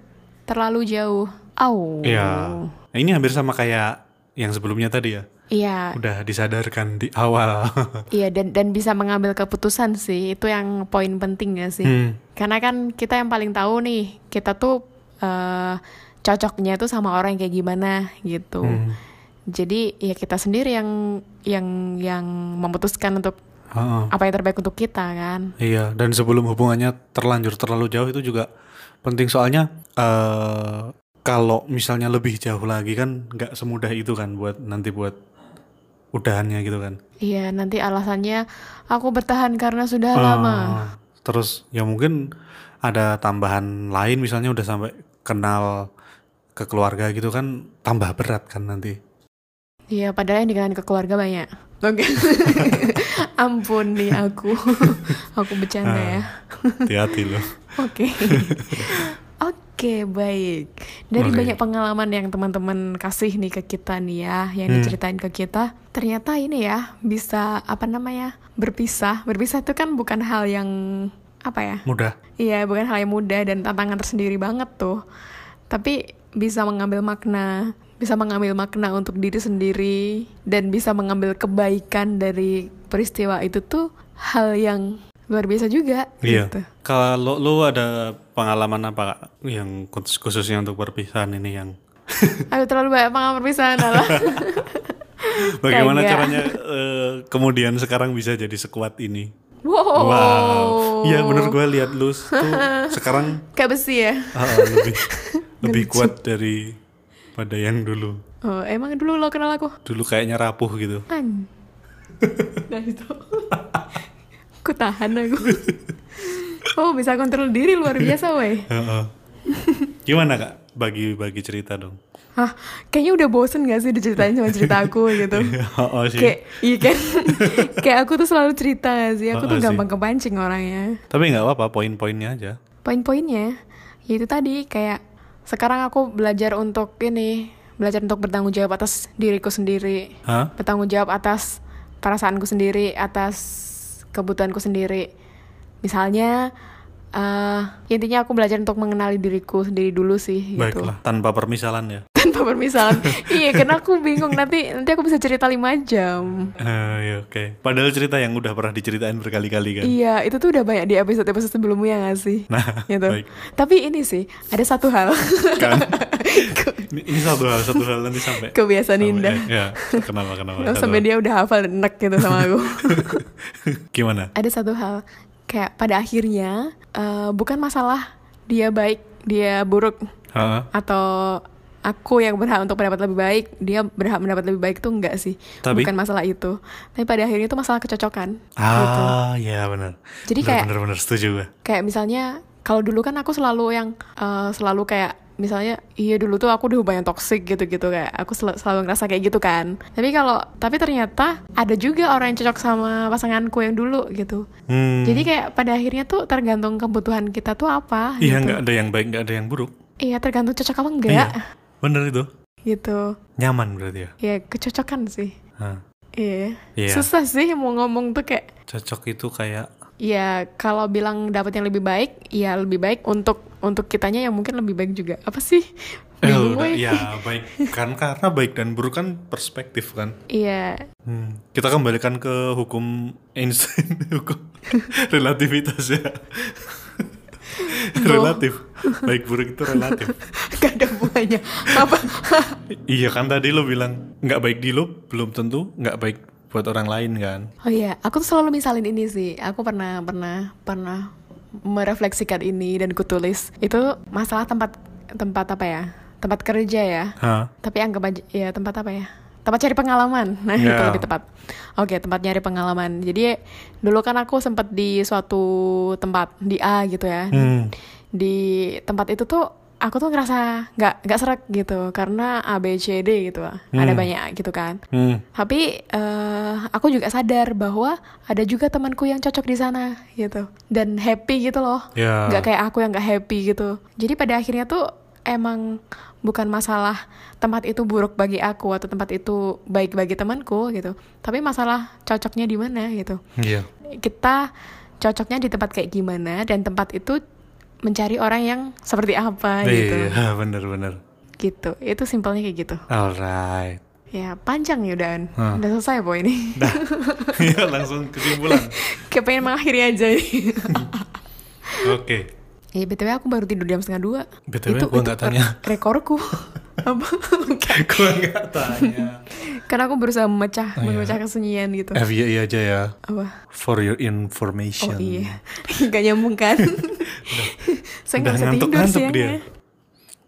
Speaker 1: terlalu jauh. Au.
Speaker 2: Iya. Nah, ini hampir sama kayak yang sebelumnya tadi ya.
Speaker 1: Iya,
Speaker 2: Udah disadarkan di awal.
Speaker 1: iya dan dan bisa mengambil keputusan sih itu yang poin penting ya sih.
Speaker 2: Hmm.
Speaker 1: Karena kan kita yang paling tahu nih, kita tuh eh, cocoknya tuh sama orang yang kayak gimana gitu. Jadi ya kita sendiri yang yang yang memutuskan untuk
Speaker 2: Ha-ha.
Speaker 1: apa yang terbaik untuk kita kan.
Speaker 2: Iya, dan sebelum hubungannya terlanjur terlalu jauh itu juga penting soalnya eh kalau misalnya lebih jauh lagi kan nggak semudah itu kan buat nanti buat udahannya gitu kan.
Speaker 1: Iya, nanti alasannya aku bertahan karena sudah
Speaker 2: Eh,
Speaker 1: lama.
Speaker 2: terus ya mungkin ada tambahan lain misalnya udah sampai kenal ke keluarga gitu kan tambah berat kan nanti.
Speaker 1: Iya, padahal yang dikenalin ke keluarga banyak. Oke. (laughs) Ampun nih aku. (laughs) aku bercanda ya.
Speaker 2: Hati-hati loh.
Speaker 1: Oke. Oke, baik. Dari
Speaker 2: Oke.
Speaker 1: banyak pengalaman yang teman-teman kasih nih ke kita nih ya, yang
Speaker 2: Hmm.
Speaker 1: diceritain ke kita, ternyata ini ya bisa apa namanya? berpisah. Berpisah itu kan bukan hal yang apa ya?
Speaker 2: Mudah.
Speaker 1: Iya, bukan hal yang mudah dan tantangan tersendiri banget tuh. Tapi bisa mengambil makna, bisa mengambil makna untuk diri sendiri dan bisa mengambil kebaikan dari peristiwa itu tuh hal yang luar biasa juga
Speaker 2: Iya.
Speaker 1: gitu.
Speaker 2: Kalau lu ada pengalaman apa Kak, yang khusus- khususnya untuk perpisahan ini yang
Speaker 1: Aduh terlalu banyak pengalaman perpisahan lah.
Speaker 2: Bagaimana
Speaker 1: Kagak.
Speaker 2: caranya eh, kemudian sekarang bisa jadi sekuat ini?
Speaker 1: (laughs) Wow.
Speaker 2: Wow. Iya menurut gue lihat lu s- tuh sekarang (laughs)
Speaker 1: Kayak besi ya.
Speaker 2: ah, lebih lebih kuat dari pada yang dulu.
Speaker 1: Oh, emang dulu lo kenal aku?
Speaker 2: Dulu kayaknya rapuh gitu.
Speaker 1: An. (laughs) Nah (laughs) itu. aku tahan aku. Oh, bisa kontrol diri luar biasa, weh. (laughs)
Speaker 2: Heeh. Gimana kak? Bagi bagi cerita dong. (laughs)
Speaker 1: Hah, kayaknya udah bosen gak sih diceritain sama cerita aku
Speaker 2: (laughs)
Speaker 1: gitu.
Speaker 2: Heeh sih.
Speaker 1: Kayak, iya
Speaker 2: (laughs)
Speaker 1: kan? Kayak aku tuh selalu cerita gak sih? Aku tuh
Speaker 2: Heeh Ah, sih.
Speaker 1: gampang kepancing orangnya.
Speaker 2: Tapi nggak apa-apa poin-poinnya aja.
Speaker 1: poin-poinnya yaitu tadi kayak sekarang aku belajar untuk ini belajar untuk bertanggung jawab atas diriku sendiri
Speaker 2: Hah?
Speaker 1: bertanggung jawab atas perasaanku sendiri atas kebutuhanku sendiri misalnya eh intinya aku belajar untuk mengenali diriku sendiri dulu sih gitu
Speaker 2: Baiklah. Tanpa permisalan ya.
Speaker 1: (laughs) tanpa permisalan iya karena aku bingung nanti nanti aku bisa cerita lima jam
Speaker 2: Eh, ya, Oke. Padahal cerita yang udah pernah diceritain berkali-kali kan.
Speaker 1: Iya, itu tuh udah banyak di episode-episode sebelumnya gak sih?
Speaker 2: Nah,
Speaker 1: gitu.
Speaker 2: baik.
Speaker 1: Tapi ini sih, ada satu hal. (laughs)
Speaker 2: Kan? Ini, ini satu hal satu hal nanti sampai
Speaker 1: Kebiasaan
Speaker 2: sampai-
Speaker 1: indah.
Speaker 2: Ya, kenapa kenapa?
Speaker 1: Lalu
Speaker 2: Satu
Speaker 1: Oh, sampai
Speaker 2: hal.
Speaker 1: dia udah hafal dan enek gitu sama aku.
Speaker 2: (laughs) Gimana?
Speaker 1: Ada satu hal kayak pada akhirnya eh, bukan masalah dia baik, dia buruk
Speaker 2: Heeh.
Speaker 1: atau aku yang berhak untuk mendapat lebih baik, dia berhak mendapat lebih baik itu enggak sih?
Speaker 2: Tapi?
Speaker 1: Bukan masalah itu. Tapi pada akhirnya itu masalah kecocokan. Gitu.
Speaker 2: Ah, ya benar.
Speaker 1: Jadi
Speaker 2: Benar,
Speaker 1: kayak-
Speaker 2: benar benar setuju gue.
Speaker 1: Kayak misalnya kalau dulu kan aku selalu yang eh, selalu kayak misalnya iya dulu tuh aku di hubungan yang toksik gitu-gitu kayak aku sel- selalu ngerasa kayak gitu kan. Tapi kalau tapi ternyata ada juga orang yang cocok sama pasanganku yang dulu gitu.
Speaker 2: Hmm.
Speaker 1: Jadi kayak pada akhirnya tuh tergantung kebutuhan kita tuh apa.
Speaker 2: Iya
Speaker 1: gitu.
Speaker 2: nggak ada yang baik nggak ada yang buruk.
Speaker 1: Iya tergantung cocok apa enggak
Speaker 2: Iya. Bener itu.
Speaker 1: gitu.
Speaker 2: Nyaman berarti ya.
Speaker 1: Ya kecocokan sih.
Speaker 2: Hah.
Speaker 1: Iya.
Speaker 2: Iya.
Speaker 1: Susah sih mau ngomong tuh kayak
Speaker 2: Cocok itu kayak
Speaker 1: ya kalau bilang dapat yang lebih baik ya lebih baik untuk untuk kitanya yang mungkin lebih baik juga apa sih
Speaker 2: (laughs) Eh,
Speaker 1: Bingung gue.
Speaker 2: udah, ya baik kan karena baik dan buruk kan perspektif kan.
Speaker 1: Iya, (laughs)
Speaker 2: Hmm, Kita kembalikan ke hukum Einstein, (laughs) hukum relativitas ya. relatif, baik buruk itu relatif.
Speaker 1: gak ada buahnya. Apa? (laughs)
Speaker 2: iya kan tadi lo bilang nggak baik di lo belum tentu nggak baik buat orang lain kan.
Speaker 1: Oh iya, aku tuh selalu misalin ini sih. Aku pernah pernah pernah merefleksikan ini dan kutulis. Itu masalah tempat tempat apa ya? Tempat kerja ya.
Speaker 2: Hah?
Speaker 1: Tapi anggap aja ya tempat apa ya? Tempat cari pengalaman. (laughs) Nah,
Speaker 2: Ya.
Speaker 1: itu lebih tepat. Oke, tempat nyari pengalaman. Jadi dulu kan aku sempat di suatu tempat di A gitu ya.
Speaker 2: Hmm.
Speaker 1: di tempat itu tuh aku tuh ngerasa nggak nggak serak gitu karena A B C D gitu lah. ada banyak gitu kan
Speaker 2: Hmm.
Speaker 1: tapi eh, aku juga sadar bahwa ada juga temanku yang cocok di sana gitu dan happy gitu loh
Speaker 2: Ya.
Speaker 1: nggak kayak aku yang nggak happy gitu jadi pada akhirnya tuh emang bukan masalah tempat itu buruk bagi aku atau tempat itu baik bagi temanku gitu tapi masalah cocoknya di mana gitu
Speaker 2: Iya.
Speaker 1: kita cocoknya di tempat kayak gimana dan tempat itu mencari orang yang seperti apa gitu
Speaker 2: Iya, bener-bener.
Speaker 1: gitu itu simpelnya kayak gitu
Speaker 2: Alright. (laughs)
Speaker 1: ya panjang ya udahan
Speaker 2: Hmm.
Speaker 1: udah selesai boy
Speaker 2: (laughs)
Speaker 1: ini
Speaker 2: Dah. Iya, langsung kesimpulan.
Speaker 1: kayak pengen mengakhiri aja ini (laughs)
Speaker 2: Oke.
Speaker 1: ya btw aku baru tidur jam setengah dua
Speaker 2: BTW, gua nggak tanya.
Speaker 1: re-
Speaker 2: (laughs)
Speaker 1: rekorku apa
Speaker 2: Gua nggak tanya.
Speaker 1: karena aku berusaha memecah
Speaker 2: Oh, iya.
Speaker 1: memecah kesunyian gitu
Speaker 2: FYI aja ya.
Speaker 1: apa
Speaker 2: For
Speaker 1: oh
Speaker 2: your information.
Speaker 1: iya (laughs) nggak nyambung kan saya nggak
Speaker 2: Udah
Speaker 1: bisa tidur
Speaker 2: ngantuk-ngantuk dia.
Speaker 1: siangnya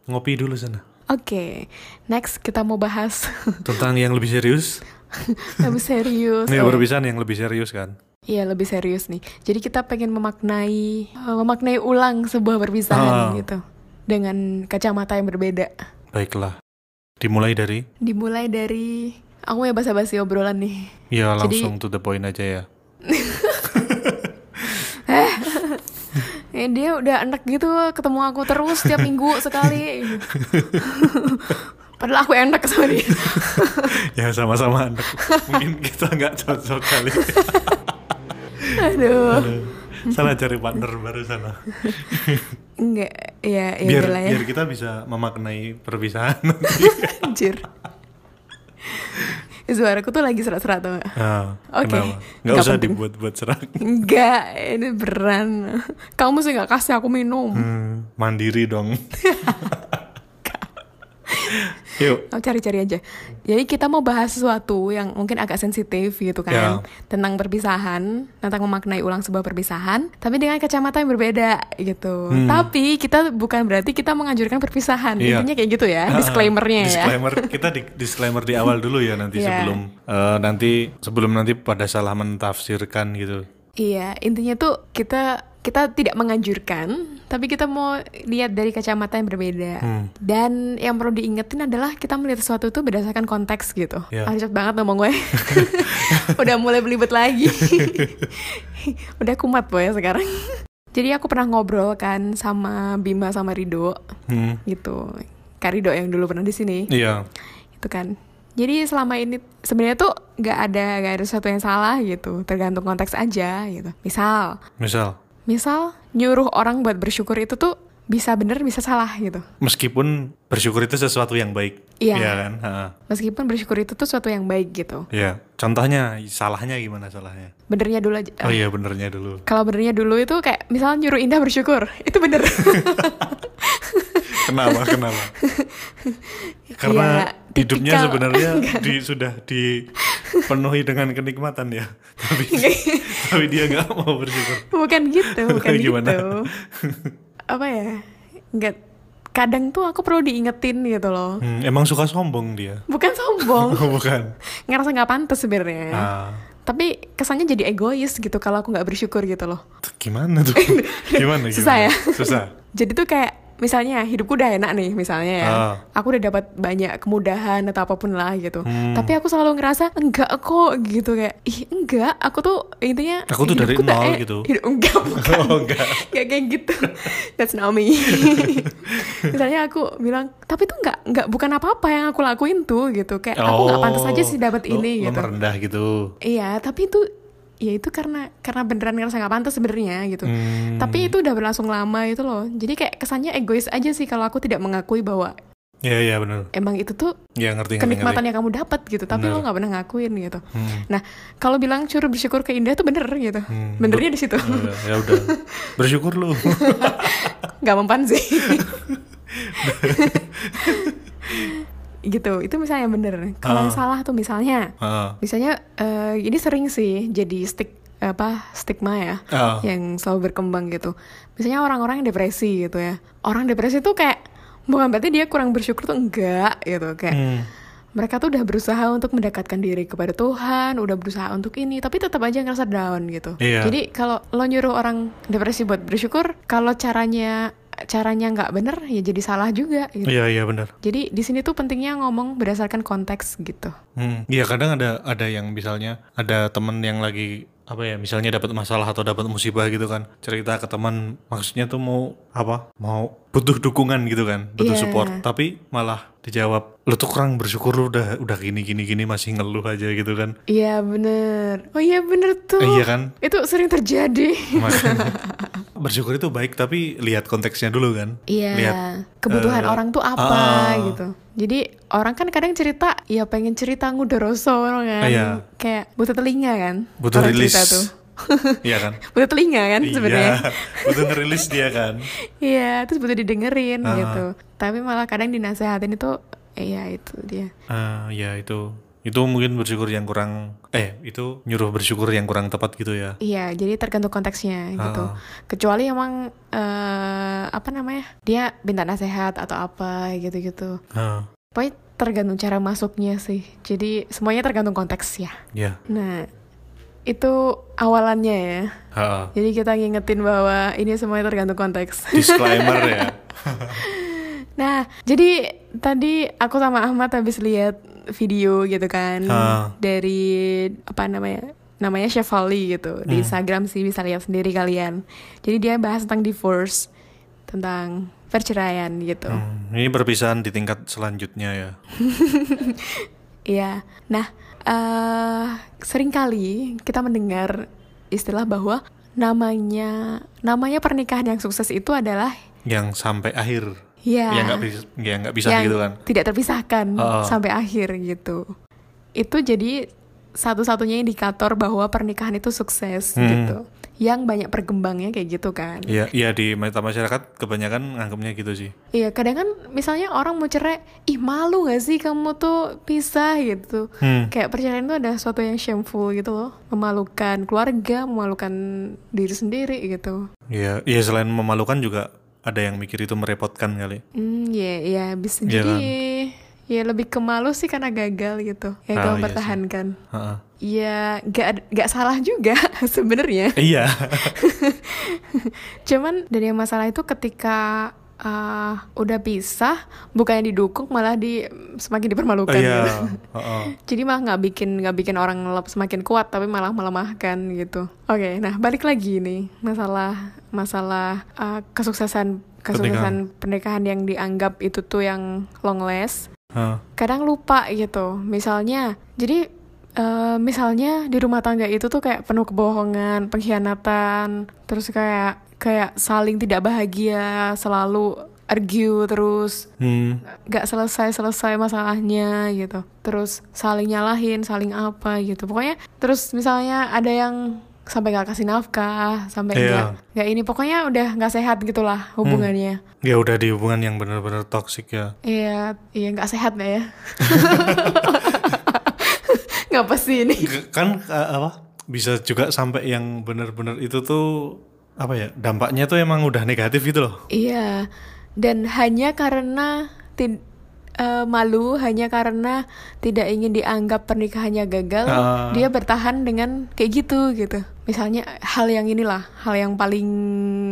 Speaker 2: Ngopi dulu sana.
Speaker 1: oke next kita mau bahas (laughs)
Speaker 2: Tentang yang lebih serius.
Speaker 1: lebih serius
Speaker 2: Ya
Speaker 1: Eh,
Speaker 2: perpisahan yang lebih serius kan.
Speaker 1: Iya lebih serius nih. Jadi kita pengen memaknai eh, memaknai ulang sebuah perpisahan
Speaker 2: Ah.
Speaker 1: gitu dengan kacamata yang berbeda.
Speaker 2: Baiklah. Dimulai dari
Speaker 1: Dimulai dari aku ya basa-basi obrolan nih.
Speaker 2: ya
Speaker 1: Jadi-
Speaker 2: langsung to the point aja ya. (laughs)
Speaker 1: Eh, dia udah enak gitu ketemu aku terus tiap
Speaker 2: (laughs)
Speaker 1: minggu sekali. Padahal aku enak sama
Speaker 2: (laughs)
Speaker 1: dia.
Speaker 2: Ya sama-sama anak. Mungkin kita nggak cocok
Speaker 1: (laughs)
Speaker 2: kali.
Speaker 1: Aduh.
Speaker 2: Salah cari partner baru sana.
Speaker 1: Enggak, ya ya
Speaker 2: biar
Speaker 1: udahlah ya.
Speaker 2: biar kita bisa memaknai perpisahan.
Speaker 1: (laughs) Anjir. Eh, Suaraku tuh lagi serak-serak tau gak?
Speaker 2: Ah,
Speaker 1: Oke.
Speaker 2: Kenapa? Nggak
Speaker 1: Nggak
Speaker 2: usah
Speaker 1: penting.
Speaker 2: dibuat-buat serak.
Speaker 1: Enggak, ini beran. Kamu sih nggak kasih aku minum.
Speaker 2: Hmm, mandiri
Speaker 1: (laughs)
Speaker 2: dong. Yuk.
Speaker 1: Oh, cari-cari aja. Jadi kita mau bahas sesuatu yang mungkin agak sensitif gitu kan.
Speaker 2: Ya.
Speaker 1: Tentang perpisahan, tentang memaknai ulang sebuah perpisahan, tapi dengan kacamata yang berbeda gitu.
Speaker 2: Hmm.
Speaker 1: Tapi kita bukan berarti kita menganjurkan perpisahan.
Speaker 2: Iya.
Speaker 1: Intinya kayak gitu ya,
Speaker 2: Ah,
Speaker 1: disclaimernya ya.
Speaker 2: disclaimer kita di, disclaimer di awal dulu ya nanti
Speaker 1: Iya.
Speaker 2: sebelum eh, nanti sebelum nanti pada salah mentafsirkan gitu
Speaker 1: Iya, intinya tuh kita kita tidak menganjurkan, tapi kita mau lihat dari kacamata yang berbeda.
Speaker 2: Hmm.
Speaker 1: Dan yang perlu diingetin adalah kita melihat sesuatu itu berdasarkan konteks gitu.
Speaker 2: Iya.
Speaker 1: Ah, Cepet banget ngomong
Speaker 2: (laughs)
Speaker 1: gue. Udah mulai belibet lagi. Udah kumat boy sekarang. Jadi aku pernah ngobrol kan sama Bima sama Rido
Speaker 2: Hmm,
Speaker 1: gitu. Kak Rido yang dulu pernah di sini
Speaker 2: iya
Speaker 1: itu kan jadi selama ini sebenarnya tuh nggak ada nggak ada sesuatu yang salah gitu tergantung konteks aja gitu misal
Speaker 2: misal
Speaker 1: misal nyuruh orang buat bersyukur itu tuh bisa bener bisa salah gitu
Speaker 2: meskipun bersyukur itu sesuatu yang baik
Speaker 1: Iya.
Speaker 2: kan Ha, ha.
Speaker 1: meskipun bersyukur itu tuh sesuatu yang baik gitu
Speaker 2: iya contohnya salahnya gimana salahnya
Speaker 1: benernya dulu aja
Speaker 2: oh iya benernya dulu
Speaker 1: kalau benernya dulu itu kayak misalnya nyuruh Indah bersyukur itu
Speaker 2: (laughs)
Speaker 1: bener
Speaker 2: kenapa
Speaker 1: (laughs)
Speaker 2: kenapa karena
Speaker 1: Ya,
Speaker 2: hidupnya
Speaker 1: tipikal- (laughs)
Speaker 2: sebenarnya di- sudah dipenuhi dengan kenikmatan ya (laughs) tapi tapi dia nggak mau bersyukur
Speaker 1: bukan gitu bukan
Speaker 2: Gimana?
Speaker 1: gitu (laughs) apa ya nggak kadang tuh aku perlu diingetin gitu loh
Speaker 2: Hmm, emang suka sombong dia
Speaker 1: bukan sombong
Speaker 2: Oh, bukan.
Speaker 1: ngerasa nggak pantas sebenarnya
Speaker 2: Ah,
Speaker 1: tapi kesannya jadi egois gitu kalau aku nggak bersyukur gitu loh
Speaker 2: tuh gimana
Speaker 1: (laughs)
Speaker 2: tuh? Gimana? gimana?
Speaker 1: Susah ya?
Speaker 2: Susah.
Speaker 1: jadi tuh kayak misalnya hidupku udah enak nih misalnya ya
Speaker 2: Ah.
Speaker 1: aku udah dapat banyak kemudahan atau apapun lah gitu
Speaker 2: Hmm.
Speaker 1: tapi aku selalu ngerasa enggak kok gitu kayak ih enggak aku tuh intinya
Speaker 2: Aku tuh dari
Speaker 1: hidupku tak
Speaker 2: nol
Speaker 1: e-
Speaker 2: gitu.
Speaker 1: hidup,
Speaker 2: (laughs)
Speaker 1: enggak bukan
Speaker 2: Oh, enggak.
Speaker 1: Nggak kayak gitu
Speaker 2: (laughs)
Speaker 1: that's not me (laughs) misalnya aku bilang tapi tuh enggak enggak bukan apa-apa yang aku Eh, lakuin tuh gitu kayak aku nggak pantas aja sih dapat
Speaker 2: Oh. lo-
Speaker 1: ini
Speaker 2: lo
Speaker 1: gitu
Speaker 2: merendah gitu.
Speaker 1: Iya, tapi itu ya itu karena karena beneran ngerasa nggak pantas sebenarnya gitu
Speaker 2: Hmm.
Speaker 1: tapi itu udah berlangsung lama itu loh jadi kayak kesannya egois aja sih kalau aku tidak mengakui bahwa
Speaker 2: Iya iya benar.
Speaker 1: emang itu tuh
Speaker 2: Ya ngerti ngerti.
Speaker 1: kenikmatan
Speaker 2: ngerti.
Speaker 1: yang kamu dapat gitu tapi lo
Speaker 2: Bener.
Speaker 1: nggak pernah ngakuin gitu
Speaker 2: Hmm.
Speaker 1: nah kalau bilang curu bersyukur ke indah tuh bener gitu
Speaker 2: Hmm.
Speaker 1: benernya di situ
Speaker 2: Ya udah, ya udah. Bersyukur lu.
Speaker 1: (laughs) nggak mempan
Speaker 2: (laughs)
Speaker 1: sih gitu itu misalnya yang bener kalau yang
Speaker 2: Ah.
Speaker 1: salah tuh misalnya
Speaker 2: Heeh.
Speaker 1: misalnya eh, ini sering sih jadi stik apa stigma ya
Speaker 2: Ah.
Speaker 1: yang selalu berkembang gitu misalnya orang-orang yang depresi gitu ya orang depresi tuh kayak bukan berarti dia kurang bersyukur tuh enggak gitu kayak
Speaker 2: Hmm.
Speaker 1: mereka tuh udah berusaha untuk mendekatkan diri kepada Tuhan, udah berusaha untuk ini, tapi tetap aja ngerasa down gitu.
Speaker 2: Iya.
Speaker 1: Jadi kalau lo nyuruh orang depresi buat bersyukur, kalau caranya caranya nggak bener ya jadi salah juga gitu.
Speaker 2: Iya iya benar.
Speaker 1: Jadi di sini tuh pentingnya ngomong berdasarkan konteks gitu.
Speaker 2: Hmm. Iya kadang ada ada yang misalnya ada temen yang lagi apa ya misalnya dapat masalah atau dapat musibah gitu kan cerita ke teman maksudnya tuh mau apa mau butuh dukungan gitu kan butuh
Speaker 1: Iya.
Speaker 2: support tapi malah dijawab lu tuh kurang bersyukur lu udah udah gini gini gini masih ngeluh aja gitu kan
Speaker 1: Iya bener. Oh iya bener tuh.
Speaker 2: Eh, iya kan
Speaker 1: Itu sering terjadi.
Speaker 2: Makanya,
Speaker 1: (laughs)
Speaker 2: bersyukur itu baik tapi lihat konteksnya dulu kan lihat
Speaker 1: Iya. Kebutuhan
Speaker 2: eh,
Speaker 1: orang tuh apa
Speaker 2: ah.
Speaker 1: gitu. Jadi orang kan kadang cerita, ya pengen cerita ngudoroso kan.
Speaker 2: Iya.
Speaker 1: Kayak butuh telinga kan.
Speaker 2: butuh
Speaker 1: orang
Speaker 2: rilis
Speaker 1: cerita tuh.
Speaker 2: iya kan
Speaker 1: butuh telinga kan (laughs) sebenarnya
Speaker 2: iya butuh ngerilis dia kan
Speaker 1: iya terus butuh didengerin
Speaker 2: Ah.
Speaker 1: gitu tapi malah kadang dinasehatin itu iya itu dia
Speaker 2: Ah, ya itu itu mungkin bersyukur yang kurang eh itu nyuruh bersyukur yang kurang tepat gitu ya
Speaker 1: iya jadi tergantung konteksnya gitu
Speaker 2: Ah.
Speaker 1: kecuali emang eh, apa namanya dia minta nasehat atau apa gitu gitu
Speaker 2: Ah,
Speaker 1: pokoknya tergantung cara masuknya sih jadi semuanya tergantung konteks ya
Speaker 2: ya
Speaker 1: nah itu awalannya ya
Speaker 2: Ah,
Speaker 1: jadi kita ngingetin bahwa ini semuanya tergantung konteks (laughs)
Speaker 2: disclaimer ya
Speaker 1: Nah, jadi tadi aku sama Ahmad habis lihat video gitu kan
Speaker 2: Ah.
Speaker 1: dari apa namanya? Namanya Shefali gitu. Di Instagram sih bisa lihat sendiri kalian. Jadi dia bahas tentang divorce, tentang perceraian gitu.
Speaker 2: Hmm, ini perpisahan di tingkat selanjutnya ya
Speaker 1: Iya. Nah, eh seringkali kita mendengar istilah bahwa namanya namanya pernikahan yang sukses itu adalah
Speaker 2: yang sampai akhir
Speaker 1: ya
Speaker 2: yang nggak bisa yang nggak bisa
Speaker 1: yang
Speaker 2: gitu kan
Speaker 1: tidak terpisahkan
Speaker 2: Heeh.
Speaker 1: sampai akhir gitu. Itu jadi satu-satunya indikator bahwa pernikahan itu sukses
Speaker 2: Hmm.
Speaker 1: gitu. Yang banyak perkembangnya kayak gitu kan.
Speaker 2: Iya, iya di meta masyarakat kebanyakan nganggapnya gitu sih.
Speaker 1: Iya, kadang kan misalnya orang mau cerai, ih malu gak sih kamu tuh pisah gitu.
Speaker 2: Hmm.
Speaker 1: Kayak perceraian itu ada sesuatu yang shameful gitu loh, memalukan keluarga, memalukan diri sendiri gitu.
Speaker 2: Iya, iya selain memalukan juga ada yang mikir itu merepotkan kali.
Speaker 1: Hmm, ya, ya bisa
Speaker 2: Iya
Speaker 1: jadi
Speaker 2: kan?
Speaker 1: ya lebih ke malu sih karena gagal gitu. Ya
Speaker 2: Ah,
Speaker 1: kalau
Speaker 2: iya sih.
Speaker 1: mempertahankan.
Speaker 2: Heeh.
Speaker 1: Ya, nggak ad- nggak salah juga (laughs) sebenarnya.
Speaker 2: Iya.
Speaker 1: Cuman dari yang masalah itu ketika eh, udah pisah, bukannya didukung malah di semakin dipermalukan.
Speaker 2: (laughs) Iya.
Speaker 1: gitu.
Speaker 2: Heeh.
Speaker 1: Jadi malah nggak bikin nggak bikin orang lep- semakin kuat, tapi malah melemahkan gitu. Oke, nah balik lagi nih masalah masalah eh, kesuksesan kesuksesan pernikahan yang dianggap itu tuh yang long last.
Speaker 2: Heeh.
Speaker 1: kadang lupa gitu misalnya jadi eh, misalnya di rumah tangga itu tuh kayak penuh kebohongan pengkhianatan terus kayak kayak saling tidak bahagia selalu argue terus
Speaker 2: Hmm.
Speaker 1: nggak selesai selesai masalahnya gitu terus saling nyalahin saling apa gitu pokoknya terus misalnya ada yang sampai nggak kasih nafkah sampai
Speaker 2: Iya.
Speaker 1: nggak nggak ini pokoknya udah nggak sehat gitulah hubungannya
Speaker 2: Ya udah di hubungan yang benar-benar toksik ya.
Speaker 1: Iya, iya nggak sehat lah ya. Ngapa sih ini?
Speaker 2: G- Kan eh, apa? Bisa juga sampai yang benar-benar itu tuh apa ya? Dampaknya tuh emang udah negatif gitu loh.
Speaker 1: Iya, dan hanya karena tid- eh, malu, hanya karena tidak ingin dianggap pernikahannya gagal,
Speaker 2: Ah.
Speaker 1: dia bertahan dengan kayak gitu gitu. Misalnya hal yang inilah, hal yang paling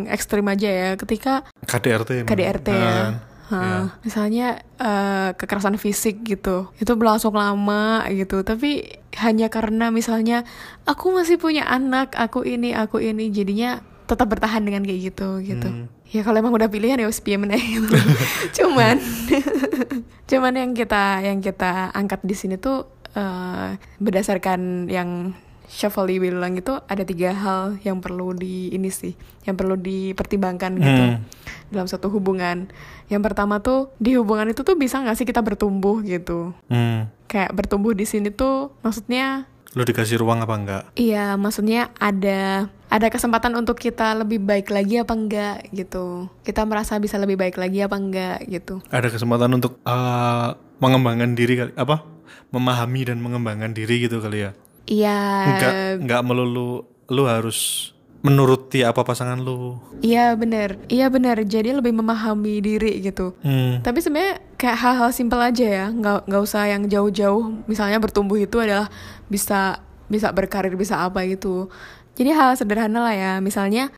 Speaker 1: ekstrim aja ya, ketika
Speaker 2: KDRT. emang.
Speaker 1: KDRT ya.
Speaker 2: Nah,
Speaker 1: Ha, Misalnya eh, kekerasan fisik gitu, itu berlangsung lama gitu. Tapi hanya karena misalnya aku masih punya anak, aku ini, aku ini, jadinya tetap bertahan dengan kayak gitu gitu. Ya kalau emang udah pilihan ya wis piye meneh. (laughs) Cuman, cuman yang kita yang kita angkat di sini tuh eh, berdasarkan yang Shafali bilang itu ada tiga hal yang perlu di ini sih, yang perlu dipertimbangkan gitu
Speaker 2: Hmm.
Speaker 1: dalam satu hubungan. Yang pertama tuh di hubungan itu tuh bisa nggak sih kita bertumbuh gitu?
Speaker 2: Hmm.
Speaker 1: Kayak bertumbuh di sini tuh maksudnya
Speaker 2: Lu dikasih ruang apa enggak?
Speaker 1: Iya, maksudnya ada ada kesempatan untuk kita lebih baik lagi apa enggak gitu. Kita merasa bisa lebih baik lagi apa enggak gitu.
Speaker 2: Ada kesempatan untuk eh, mengembangkan diri kali apa? Memahami dan mengembangkan diri gitu kali ya.
Speaker 1: Iya,
Speaker 2: Enggak enggak melulu lu harus menuruti apa pasangan lu.
Speaker 1: iya bener, iya bener. Jadi lebih memahami diri gitu.
Speaker 2: Hmm.
Speaker 1: Tapi sebenarnya kayak hal-hal simpel aja ya, nggak nggak usah yang jauh-jauh. Misalnya bertumbuh itu adalah bisa bisa berkarir bisa apa gitu. Jadi hal sederhana lah ya. Misalnya,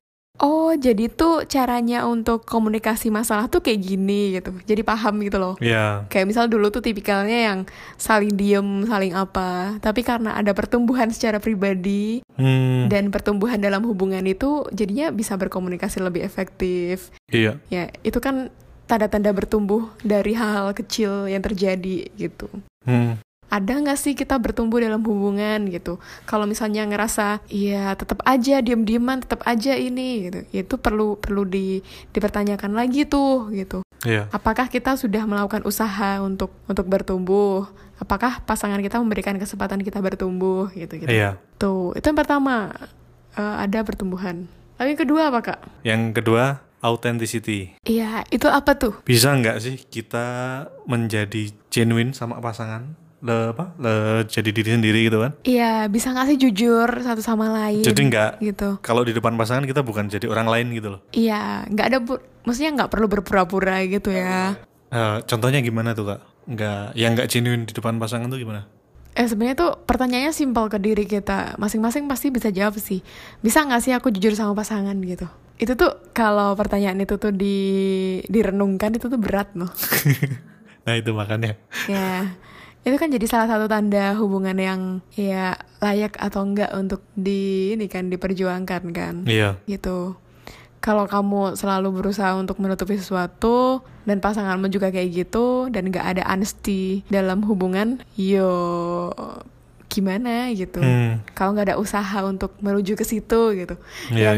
Speaker 1: oh jadi tuh caranya untuk komunikasi masalah tuh kayak gini gitu. Jadi paham gitu loh.
Speaker 2: Ya.
Speaker 1: Kayak misal dulu tuh tipikalnya yang saling diem, saling apa. Tapi karena ada pertumbuhan secara pribadi
Speaker 2: Hmm.
Speaker 1: dan pertumbuhan dalam hubungan itu jadinya bisa berkomunikasi lebih efektif.
Speaker 2: Iya.
Speaker 1: Ya, itu kan tanda-tanda bertumbuh dari hal-hal kecil yang terjadi gitu.
Speaker 2: Hmm.
Speaker 1: Ada nggak sih kita bertumbuh dalam hubungan gitu? Kalau misalnya ngerasa, iya tetap aja diem-dieman, tetap aja ini gitu. Itu perlu perlu di, dipertanyakan lagi tuh gitu
Speaker 2: Iya.
Speaker 1: apakah kita sudah melakukan usaha untuk untuk bertumbuh apakah pasangan kita memberikan kesempatan kita bertumbuh gitu gitu
Speaker 2: Iya.
Speaker 1: tuh itu yang pertama eh, ada pertumbuhan tapi yang kedua apa kak
Speaker 2: Yang kedua, authenticity.
Speaker 1: iya itu apa tuh
Speaker 2: Bisa nggak sih kita menjadi genuine sama pasangan? Le, apa? Le- jadi diri sendiri gitu kan?
Speaker 1: iya bisa nggak sih jujur satu sama lain
Speaker 2: Jadi nggak
Speaker 1: gitu
Speaker 2: kalau di depan pasangan kita bukan jadi orang lain gitu loh.
Speaker 1: iya nggak ada bu- maksudnya nggak perlu berpura-pura gitu ya
Speaker 2: Eh, contohnya gimana tuh kak? Nggak, yang nggak genuine di depan pasangan tuh gimana? (laughs)
Speaker 1: Eh sebenarnya tuh pertanyaannya simpel ke diri kita. Masing-masing pasti bisa jawab sih. Bisa nggak sih aku jujur sama pasangan gitu? Itu tuh kalau pertanyaan itu tuh di direnungkan itu tuh berat loh.
Speaker 2: nah itu makanya.
Speaker 1: ya. Itu kan jadi salah satu tanda hubungan yang ya layak atau enggak untuk di ini kan diperjuangkan kan.
Speaker 2: Iya.
Speaker 1: Gitu. Kalau kamu selalu berusaha untuk menutupi sesuatu dan pasanganmu juga kayak gitu dan nggak ada honesty dalam hubungan, yo gimana gitu.
Speaker 2: Hmm.
Speaker 1: Kalau nggak ada usaha untuk menuju ke situ gitu,
Speaker 2: Iya,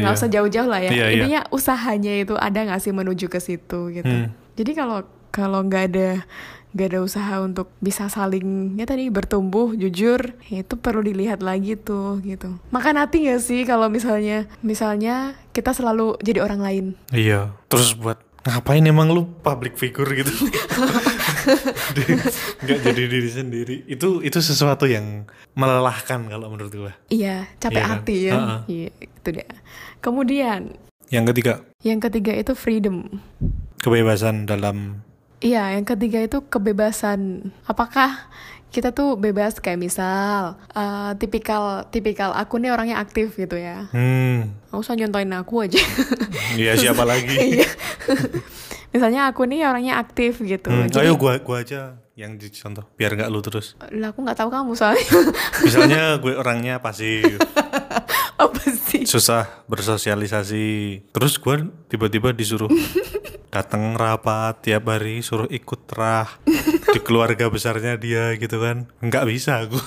Speaker 1: ya nggak
Speaker 2: iya.
Speaker 1: usah jauh-jauh lah ya.
Speaker 2: Iya, iya.
Speaker 1: Intinya usahanya itu ada nggak sih menuju ke situ gitu.
Speaker 2: Hmm.
Speaker 1: Jadi kalau kalau nggak ada nggak ada usaha untuk bisa saling ya tadi bertumbuh jujur ya itu perlu dilihat lagi tuh gitu makan hati nggak sih kalau misalnya misalnya kita selalu jadi orang lain
Speaker 2: Iya. Terus buat ngapain emang lu public figure gitu? Di- Nggak jadi diri sendiri. Itu itu sesuatu yang melelahkan kalau menurut gua.
Speaker 1: iya capek
Speaker 2: Iya kan?
Speaker 1: hati ya
Speaker 2: Ha-ha.
Speaker 1: Iya, itu dia kemudian
Speaker 2: Yang ketiga,
Speaker 1: yang ketiga itu freedom
Speaker 2: kebebasan dalam
Speaker 1: Iya, yang ketiga itu kebebasan. Apakah kita tuh bebas kayak misal eh, tipikal tipikal aku nih orangnya aktif gitu ya.
Speaker 2: Hmm,
Speaker 1: Nggak usah nyontoin aku aja. (laughs)
Speaker 2: ya siapa lagi?
Speaker 1: Iya. Misalnya aku nih orangnya aktif gitu.
Speaker 2: Hmm,
Speaker 1: Jadi,
Speaker 2: ayo gua gua aja yang dicontoh biar nggak lu terus.
Speaker 1: lah aku nggak tahu kamu soalnya (laughs)
Speaker 2: Misalnya gue orangnya pasif,
Speaker 1: apa sih?
Speaker 2: susah bersosialisasi. Terus gua tiba-tiba disuruh datang rapat tiap hari, suruh ikut rah di keluarga besarnya dia gitu kan. Nggak bisa aku.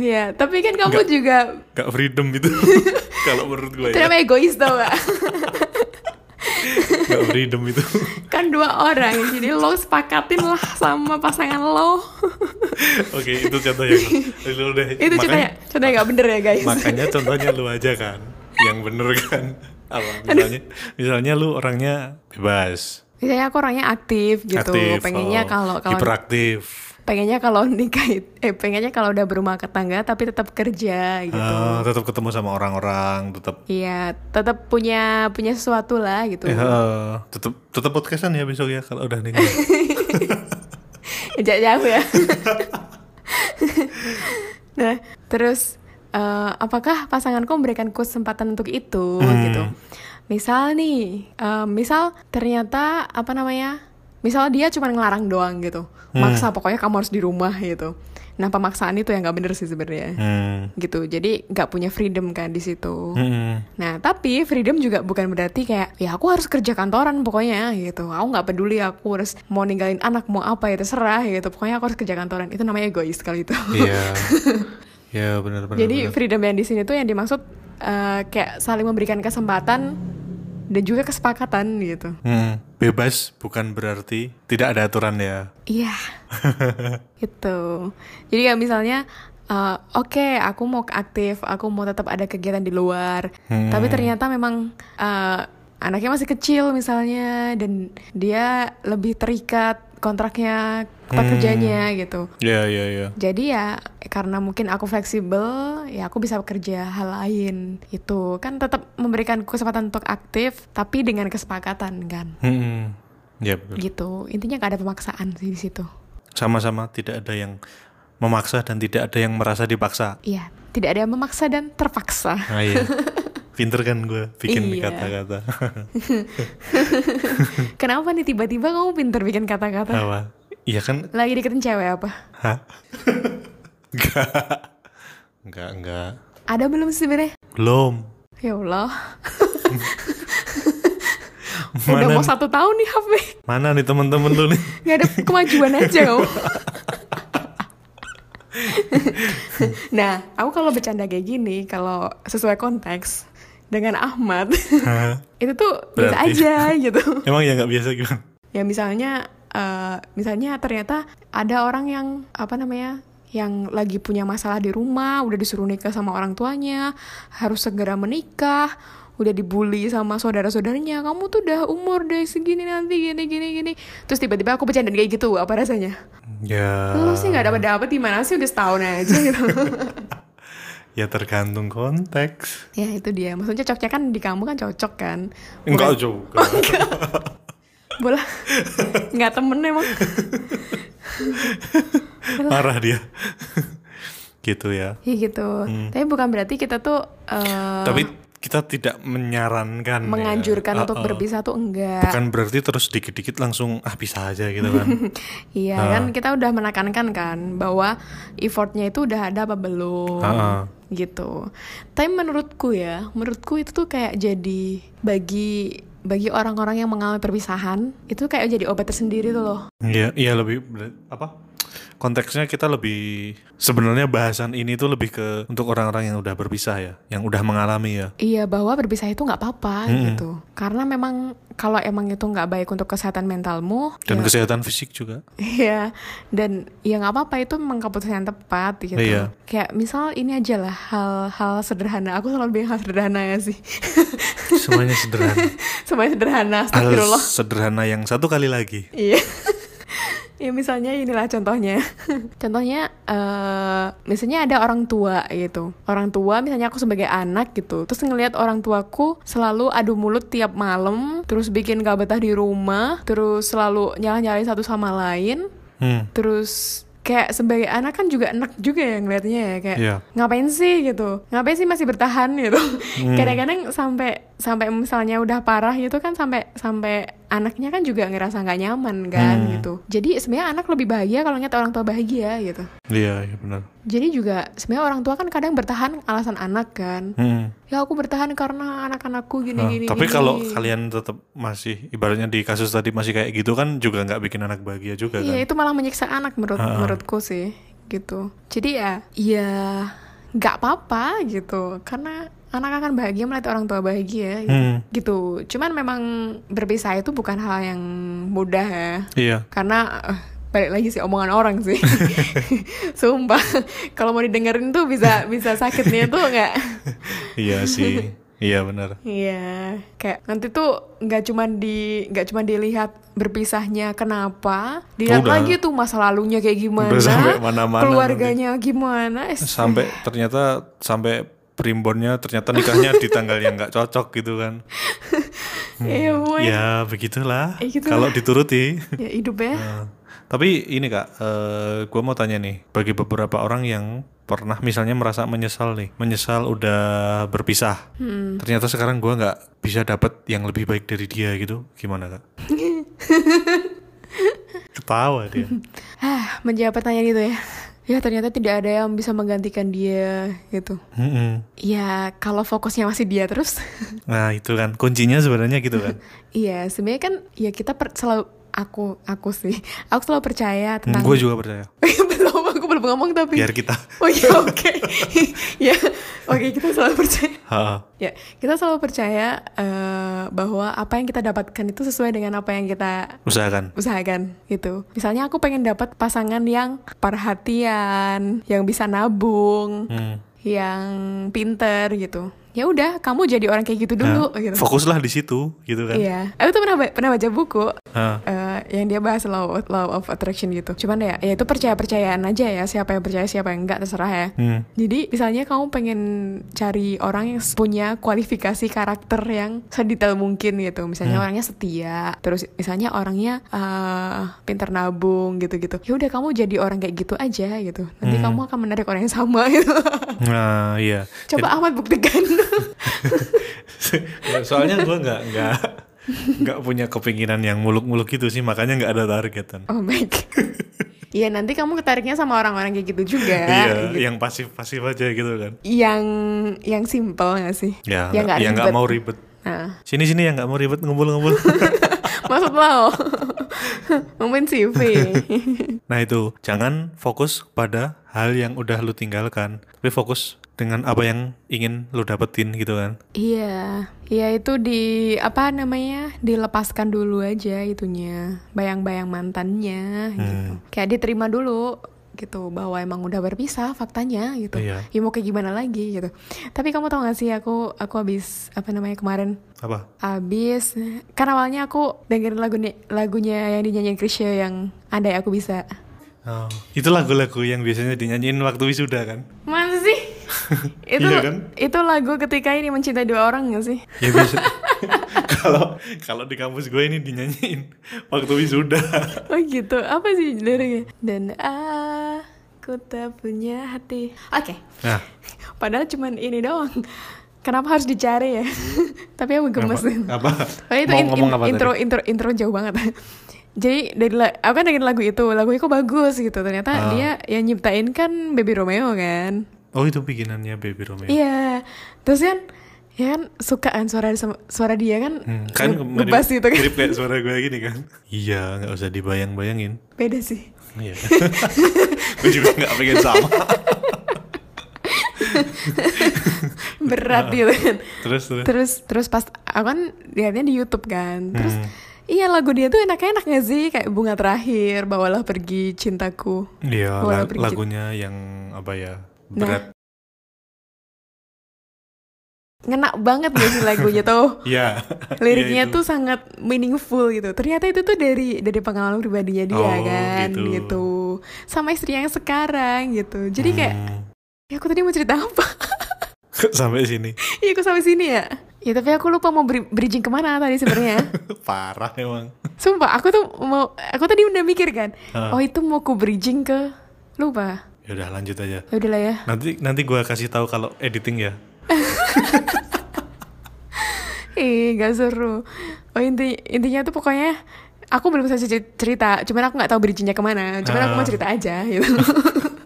Speaker 1: Iya, tapi kan kamu juga
Speaker 2: Nggak freedom itu.
Speaker 1: (laughs)
Speaker 2: Kalau menurut gue
Speaker 1: itu
Speaker 2: ya,
Speaker 1: namanya egois tau gak?
Speaker 2: nggak freedom itu.
Speaker 1: (laughs)
Speaker 2: (laughs)
Speaker 1: kan dua orang, jadi lo sepakatin lah sama pasangan lo.
Speaker 2: Oke, itu contohnya. Lu deh.
Speaker 1: itu
Speaker 2: Makanya-
Speaker 1: contohnya, contohnya nggak bener ya guys.
Speaker 2: Makanya contohnya lu aja kan, yang bener kan. Apa misalnya, misalnya lu orangnya bebas,
Speaker 1: Misalnya aku orangnya aktif gitu,
Speaker 2: aktif,
Speaker 1: pengennya
Speaker 2: oh,
Speaker 1: kalau kalau
Speaker 2: hiperaktif,
Speaker 1: pengennya kalau nikah it- eh pengennya kalau udah berumah tangga tapi tetap kerja gitu
Speaker 2: eh, tetap ketemu sama orang-orang, tetap
Speaker 1: iya tetap punya punya sesuatu lah gitu (laughs)
Speaker 2: eh, eh, tetap tetap podcastan ya besok ya kalau udah nikah.
Speaker 1: Jangan jauh ya nah terus eh, apakah pasanganku memberikan kesempatan untuk itu gitu misal nih eh, misal ternyata apa namanya misal dia cuma ngelarang doang gitu maksa pokoknya kamu harus di rumah gitu nah pemaksaan itu yang nggak bener sih sebenarnya
Speaker 2: Hmm.
Speaker 1: gitu jadi nggak punya freedom kan di situ
Speaker 2: Hmm.
Speaker 1: nah tapi freedom juga bukan berarti kayak ya aku harus kerja kantoran pokoknya gitu aku nggak peduli aku harus mau ninggalin (laughs) anak mau apa ya terserah gitu pokoknya aku harus kerja kantoran itu namanya egois kali itu
Speaker 2: Iya. Ya benar-benar.
Speaker 1: (laughs) Jadi
Speaker 2: Iya, benar.
Speaker 1: freedom yang di sini tuh yang dimaksud eh, kayak saling memberikan kesempatan dan juga kesepakatan gitu.
Speaker 2: Hmm, bebas bukan berarti tidak ada aturan ya.
Speaker 1: Iya. gitu. Jadi kayak misalnya eh, oke, aku mau aktif, aku mau tetap ada kegiatan di luar. Tapi ternyata memang eh, anaknya masih kecil misalnya dan dia lebih terikat kontraknya, tempat kerjanya gitu.
Speaker 2: Ya ya ya.
Speaker 1: Jadi ya karena mungkin aku fleksibel, ya aku bisa bekerja hal lain. Itu kan tetap memberikan kesempatan untuk aktif, tapi dengan kesepakatan kan.
Speaker 2: Hmm, ya betul.
Speaker 1: Gitu. Intinya gak ada pemaksaan sih di situ.
Speaker 2: Sama-sama tidak ada yang memaksa dan tidak ada yang merasa dipaksa.
Speaker 1: Iya, tidak ada yang memaksa dan terpaksa.
Speaker 2: Ah iya. (laughs) Pinter kan gue bikin
Speaker 1: Iya.
Speaker 2: kata-kata. Hmm.
Speaker 1: Kenapa nih tiba-tiba kamu pinter bikin kata-kata?
Speaker 2: Apa? Iya kan?
Speaker 1: Lagi deketin cewek apa?
Speaker 2: Hah? (laughs) enggak. Enggak, enggak.
Speaker 1: Ada belum sih sebenarnya?
Speaker 2: Belum.
Speaker 1: Ya Allah, udah
Speaker 2: Mana
Speaker 1: mau satu tahun nih HP.
Speaker 2: mana nih temen-temen lu nih?
Speaker 1: Gak
Speaker 2: (laughs)
Speaker 1: ada kemajuan aja kamu. nah, aku kalau bercanda kayak gini, kalau sesuai konteks dengan Ahmad, (laughs)
Speaker 2: Hah?
Speaker 1: itu tuh biasa
Speaker 2: Berarti.
Speaker 1: aja gitu.
Speaker 2: Emang ya nggak biasa gimana?
Speaker 1: Ya misalnya, eh, misalnya ternyata ada orang yang apa namanya? yang lagi punya masalah di rumah, udah disuruh nikah sama orang tuanya, harus segera menikah, udah dibully sama saudara-saudaranya, kamu tuh udah umur deh segini nanti gini gini gini, terus tiba-tiba aku bercanda kayak gitu, apa rasanya?
Speaker 2: Ya.
Speaker 1: Lu sih nggak dapat dapat di mana sih udah setahun aja
Speaker 2: (laughs)
Speaker 1: gitu.
Speaker 2: Ya tergantung konteks.
Speaker 1: ya itu dia. Maksudnya cocoknya kan di kamu kan cocok kan. (laughs)
Speaker 2: Enggak juga.
Speaker 1: Bola
Speaker 2: (laughs)
Speaker 1: nggak temen emang.
Speaker 2: Marah dia. (laughs) gitu ya.
Speaker 1: Ya gitu. Tapi bukan berarti kita tuh eh,
Speaker 2: Tapi kita tidak menyarankan. ya.
Speaker 1: menganjurkan
Speaker 2: Oh,
Speaker 1: untuk
Speaker 2: oh.
Speaker 1: berpisah tuh enggak.
Speaker 2: Bukan berarti terus dikit-dikit langsung ah bisa aja gitu
Speaker 1: (laughs)
Speaker 2: kan.
Speaker 1: Iya kan kita udah menekankan kan bahwa effortnya itu udah ada apa belum.
Speaker 2: Ah, ah.
Speaker 1: gitu. Tapi menurutku ya, menurutku itu tuh kayak jadi bagi bagi orang-orang yang mengalami perpisahan itu kayak jadi obat tersendiri tuh loh.
Speaker 2: Iya, iya lebih ber- apa? Konteksnya kita lebih sebenarnya bahasan ini tuh lebih ke untuk orang-orang yang udah berpisah ya, yang udah mengalami ya.
Speaker 1: Iya bahwa berpisah itu nggak apa-apa gitu. Karena memang kalau emang itu nggak baik untuk kesehatan mentalmu,
Speaker 2: Dan
Speaker 1: ya-
Speaker 2: kesehatan fisik juga.
Speaker 1: Iya dan ya nggak apa-apa itu memang keputusan yang tepat gitu.
Speaker 2: Iya.
Speaker 1: Kayak misal ini aja lah hal-hal sederhana. Aku selalu bilang hal sederhana ya sih. (laughs)
Speaker 2: Semuanya sederhana.
Speaker 1: Semuanya sederhana.
Speaker 2: Hal
Speaker 1: Astagfirullah.
Speaker 2: sederhana yang satu kali lagi.
Speaker 1: Iya. (laughs) ya misalnya inilah contohnya. (laughs) contohnya eh misalnya ada orang tua gitu. Orang tua misalnya aku sebagai anak gitu. Terus ngelihat orang tuaku selalu adu mulut tiap malam, terus bikin gak betah di rumah, terus selalu nyala-nyalain satu sama lain,
Speaker 2: Hmm.
Speaker 1: terus kayak sebagai anak kan juga enak juga ya ngelihatnya ya kayak
Speaker 2: Iya.
Speaker 1: ngapain sih gitu ngapain sih masih bertahan gitu
Speaker 2: Hmm.
Speaker 1: kadang-kadang sampai sampai misalnya udah parah gitu kan sampai sampai anaknya kan juga ngerasa nggak nyaman kan
Speaker 2: Hmm.
Speaker 1: gitu jadi sebenarnya anak lebih bahagia kalau ngeliat orang tua bahagia gitu
Speaker 2: Iya, iya benar.
Speaker 1: jadi juga sebenarnya orang tua kan kadang bertahan alasan anak kan
Speaker 2: Hmm.
Speaker 1: ya aku bertahan karena anak-anakku gini
Speaker 2: Nah,
Speaker 1: gini gini."
Speaker 2: tapi kalau kalian tetap masih ibaratnya di kasus tadi masih kayak gitu kan juga nggak bikin anak bahagia juga
Speaker 1: Iya
Speaker 2: kan.
Speaker 1: itu malah menyiksa anak menurut
Speaker 2: Ha-ha.
Speaker 1: menurutku sih gitu. Jadi ya ya nggak apa-apa gitu karena anak akan bahagia melihat orang tua bahagia gitu.
Speaker 2: Hmm.
Speaker 1: Gitu. Cuman memang berpisah itu bukan hal yang mudah ya
Speaker 2: Iya.
Speaker 1: karena eh, balik lagi sih omongan orang
Speaker 2: (laughs)
Speaker 1: sih. Sumpah kalau mau didengerin tuh bisa bisa sakitnya tuh nggak.
Speaker 2: Iya sih. Iya benar.
Speaker 1: Iya, kayak nanti tuh nggak cuman di nggak cuman dilihat berpisahnya kenapa, dilihat
Speaker 2: Udah.
Speaker 1: lagi tuh masa lalunya kayak gimana,
Speaker 2: Udah sampai mana-mana
Speaker 1: keluarganya gimana,
Speaker 2: (laughs)
Speaker 1: es-
Speaker 2: sampai ternyata sampai primbonnya ternyata nikahnya di tanggal yang nggak cocok gitu kan
Speaker 1: iya boy.
Speaker 2: ya begitulah
Speaker 1: Ya, gitu
Speaker 2: kalau dituruti
Speaker 1: ya hidup ya.
Speaker 2: Nah, tapi ini kak gue mau tanya nih bagi beberapa orang yang pernah misalnya merasa menyesal nih menyesal udah berpisah
Speaker 1: Hmm.
Speaker 2: ternyata sekarang gue nggak bisa dapet yang lebih baik dari dia gitu gimana
Speaker 1: (laughs)
Speaker 2: kak ketawa dia
Speaker 1: Hah, menjawab pertanyaan itu ya. Ya ternyata tidak ada yang bisa menggantikan dia gitu.
Speaker 2: Mm-mm.
Speaker 1: Ya kalau fokusnya masih dia terus, (laughs)
Speaker 2: nah itu kan kuncinya sebenarnya gitu kan
Speaker 1: iya sebenarnya kan ya kita per- selalu aku aku sih aku selalu percaya tentang
Speaker 2: gue Hmm, juga percaya
Speaker 1: (laughs) belum belum, aku belum ngomong tapi.
Speaker 2: biar kita (laughs)
Speaker 1: (laughs) Oh iya, oke. ya, oke kita selalu percaya.
Speaker 2: Ha,
Speaker 1: Ya, kita selalu percaya eh, bahwa apa yang kita dapatkan itu sesuai dengan apa yang kita
Speaker 2: usahakan
Speaker 1: usahakan gitu. Misalnya aku pengen dapat pasangan yang perhatian, yang bisa nabung,
Speaker 2: Hmm.
Speaker 1: yang pinter gitu. Ya udah, kamu jadi orang kayak gitu
Speaker 2: Nah,
Speaker 1: dulu gitu.
Speaker 2: fokuslah di situ gitu kan
Speaker 1: Iya. Aku tuh pernah ba- pernah baca buku
Speaker 2: Ha.
Speaker 1: eh, yang dia bahas law, law of attraction gitu. Cuman ya, ya itu percaya-percayaan aja ya, siapa yang percaya siapa yang enggak terserah ya.
Speaker 2: Hmm.
Speaker 1: Jadi misalnya kamu pengen cari orang yang punya kualifikasi karakter yang sedetail mungkin gitu. Misalnya
Speaker 2: Hmm.
Speaker 1: orangnya setia, terus misalnya orangnya eh, pintar nabung gitu-gitu. Ya udah kamu jadi orang kayak gitu aja gitu. Nanti
Speaker 2: Hmm.
Speaker 1: kamu akan menarik orang yang sama
Speaker 2: (laughs)
Speaker 1: gitu.
Speaker 2: Nah, iya.
Speaker 1: Coba Ahmad buktikan. (laughs)
Speaker 2: Ya, (laughs) Soalnya gue nggak nggak nggak punya kepinginan yang muluk-muluk gitu sih, makanya nggak ada kan. targetan.
Speaker 1: oh my
Speaker 2: (laughs)
Speaker 1: god. Iya nanti kamu ketariknya sama orang-orang kayak gitu juga.
Speaker 2: iya,
Speaker 1: gitu.
Speaker 2: yang pasif-pasif aja gitu kan.
Speaker 1: Yang yang simple gak sih?
Speaker 2: Ya,
Speaker 1: Yang
Speaker 2: nggak-
Speaker 1: nggak
Speaker 2: yang nggak
Speaker 1: ribet.
Speaker 2: mau ribet.
Speaker 1: Nah,
Speaker 2: Sini-sini yang nggak mau ribet (laughs) ngumpul-ngumpul.
Speaker 1: maksud lo? (laughs) Mungkin
Speaker 2: (laughs)
Speaker 1: CV.
Speaker 2: nah itu, jangan fokus pada hal yang udah lu tinggalkan, tapi fokus dengan apa yang ingin lu dapetin gitu kan.
Speaker 1: Iya, ya itu di apa namanya dilepaskan dulu aja itunya, bayang-bayang
Speaker 2: Hmm.
Speaker 1: mantannya gitu. Kayak diterima dulu gitu bahwa emang udah berpisah faktanya gitu.
Speaker 2: Iya.
Speaker 1: Ya mau kayak gimana lagi gitu. Tapi kamu tau gak sih aku aku habis apa namanya kemarin
Speaker 2: Apa?
Speaker 1: habis kan awalnya aku dengerin lagunya lagunya yang dinyanyiin Krisya yang andai aku bisa.
Speaker 2: Oh, itu lagu-lagu yang biasanya dinyanyiin waktu wisuda kan?
Speaker 1: Mana
Speaker 2: (laughs)
Speaker 1: sih? itu
Speaker 2: Iya kan?
Speaker 1: itu lagu ketika ini mencintai dua orang gak sih?
Speaker 2: Ya (laughs) biasa. Kalau kalau di kampus gue ini dinyanyiin waktu (laughs) wisuda.
Speaker 1: Oh gitu, apa sih liriknya? Dan aku tak punya hati Oke,
Speaker 2: Nah,
Speaker 1: padahal cuman ini doang Kenapa harus dicari ya? (laughs) Tapi aku gemes
Speaker 2: apa?
Speaker 1: Oh, itu
Speaker 2: Mau
Speaker 1: in-
Speaker 2: ngomong
Speaker 1: in-
Speaker 2: apa
Speaker 1: intro,
Speaker 2: tadi?
Speaker 1: intro, intro jauh banget (laughs) Jadi dari la- aku kan dengerin lagu itu, lagunya kok bagus gitu Ternyata
Speaker 2: Ah.
Speaker 1: dia yang nyiptain kan Baby Romeo kan
Speaker 2: Oh, itu bikinannya Baby Romeo.
Speaker 1: Iya, terus kan Ya kan suka kan suara, suara dia kan
Speaker 2: Hmm,
Speaker 1: nge-
Speaker 2: Kan mirip-
Speaker 1: ngebas gitu kan
Speaker 2: mirip kayak suara gue gini kan. Iya, nggak usah dibayang-bayangin.
Speaker 1: Beda sih
Speaker 2: Iya. (laughs) gue juga nggak pengen sama.
Speaker 1: Berat
Speaker 2: Ah.
Speaker 1: gitu kan
Speaker 2: Terus terus.
Speaker 1: terus terus pas aku kan lihatnya di YouTube
Speaker 2: Hmm.
Speaker 1: kan terus iya lagu dia tuh enak-enak gak sih kayak bunga terakhir bawalah pergi cintaku
Speaker 2: Iya,
Speaker 1: Bola
Speaker 2: la-
Speaker 1: Bridget.
Speaker 2: lagunya yang apa ya?
Speaker 1: Nah.
Speaker 2: Berat.
Speaker 1: ngena banget gak sih lagunya tuh
Speaker 2: (laughs) Iya.
Speaker 1: liriknya
Speaker 2: Iya, itu.
Speaker 1: tuh sangat meaningful gitu ternyata itu tuh dari dari pengalaman pribadinya dia
Speaker 2: Oh,
Speaker 1: kan
Speaker 2: gitu.
Speaker 1: gitu. sama istri yang sekarang gitu jadi kayak ya aku tadi mau cerita apa (laughs)
Speaker 2: Hmm. (laughs) sampai sini. (laughs)
Speaker 1: iya aku sampai sini ya ya tapi aku lupa mau bri- bridging kemana tadi sebenarnya
Speaker 2: (laughs) Parah emang.
Speaker 1: Sumpah, aku tuh mau, aku tadi udah mikir kan,
Speaker 2: Heeh.
Speaker 1: oh itu mau ku bridging ke, lupa,
Speaker 2: Ya udah lanjut aja.
Speaker 1: ya udahlah ya.
Speaker 2: Nanti nanti gue kasih tahu kalau editing ya.
Speaker 1: Ih, gak seru. Oh inti, intinya tuh pokoknya, aku belum selesai cer- cerita, cuman aku nggak tahu bridgingnya kemana, cuman aku mau
Speaker 2: Ah.
Speaker 1: cerita aja gitu. (laughs)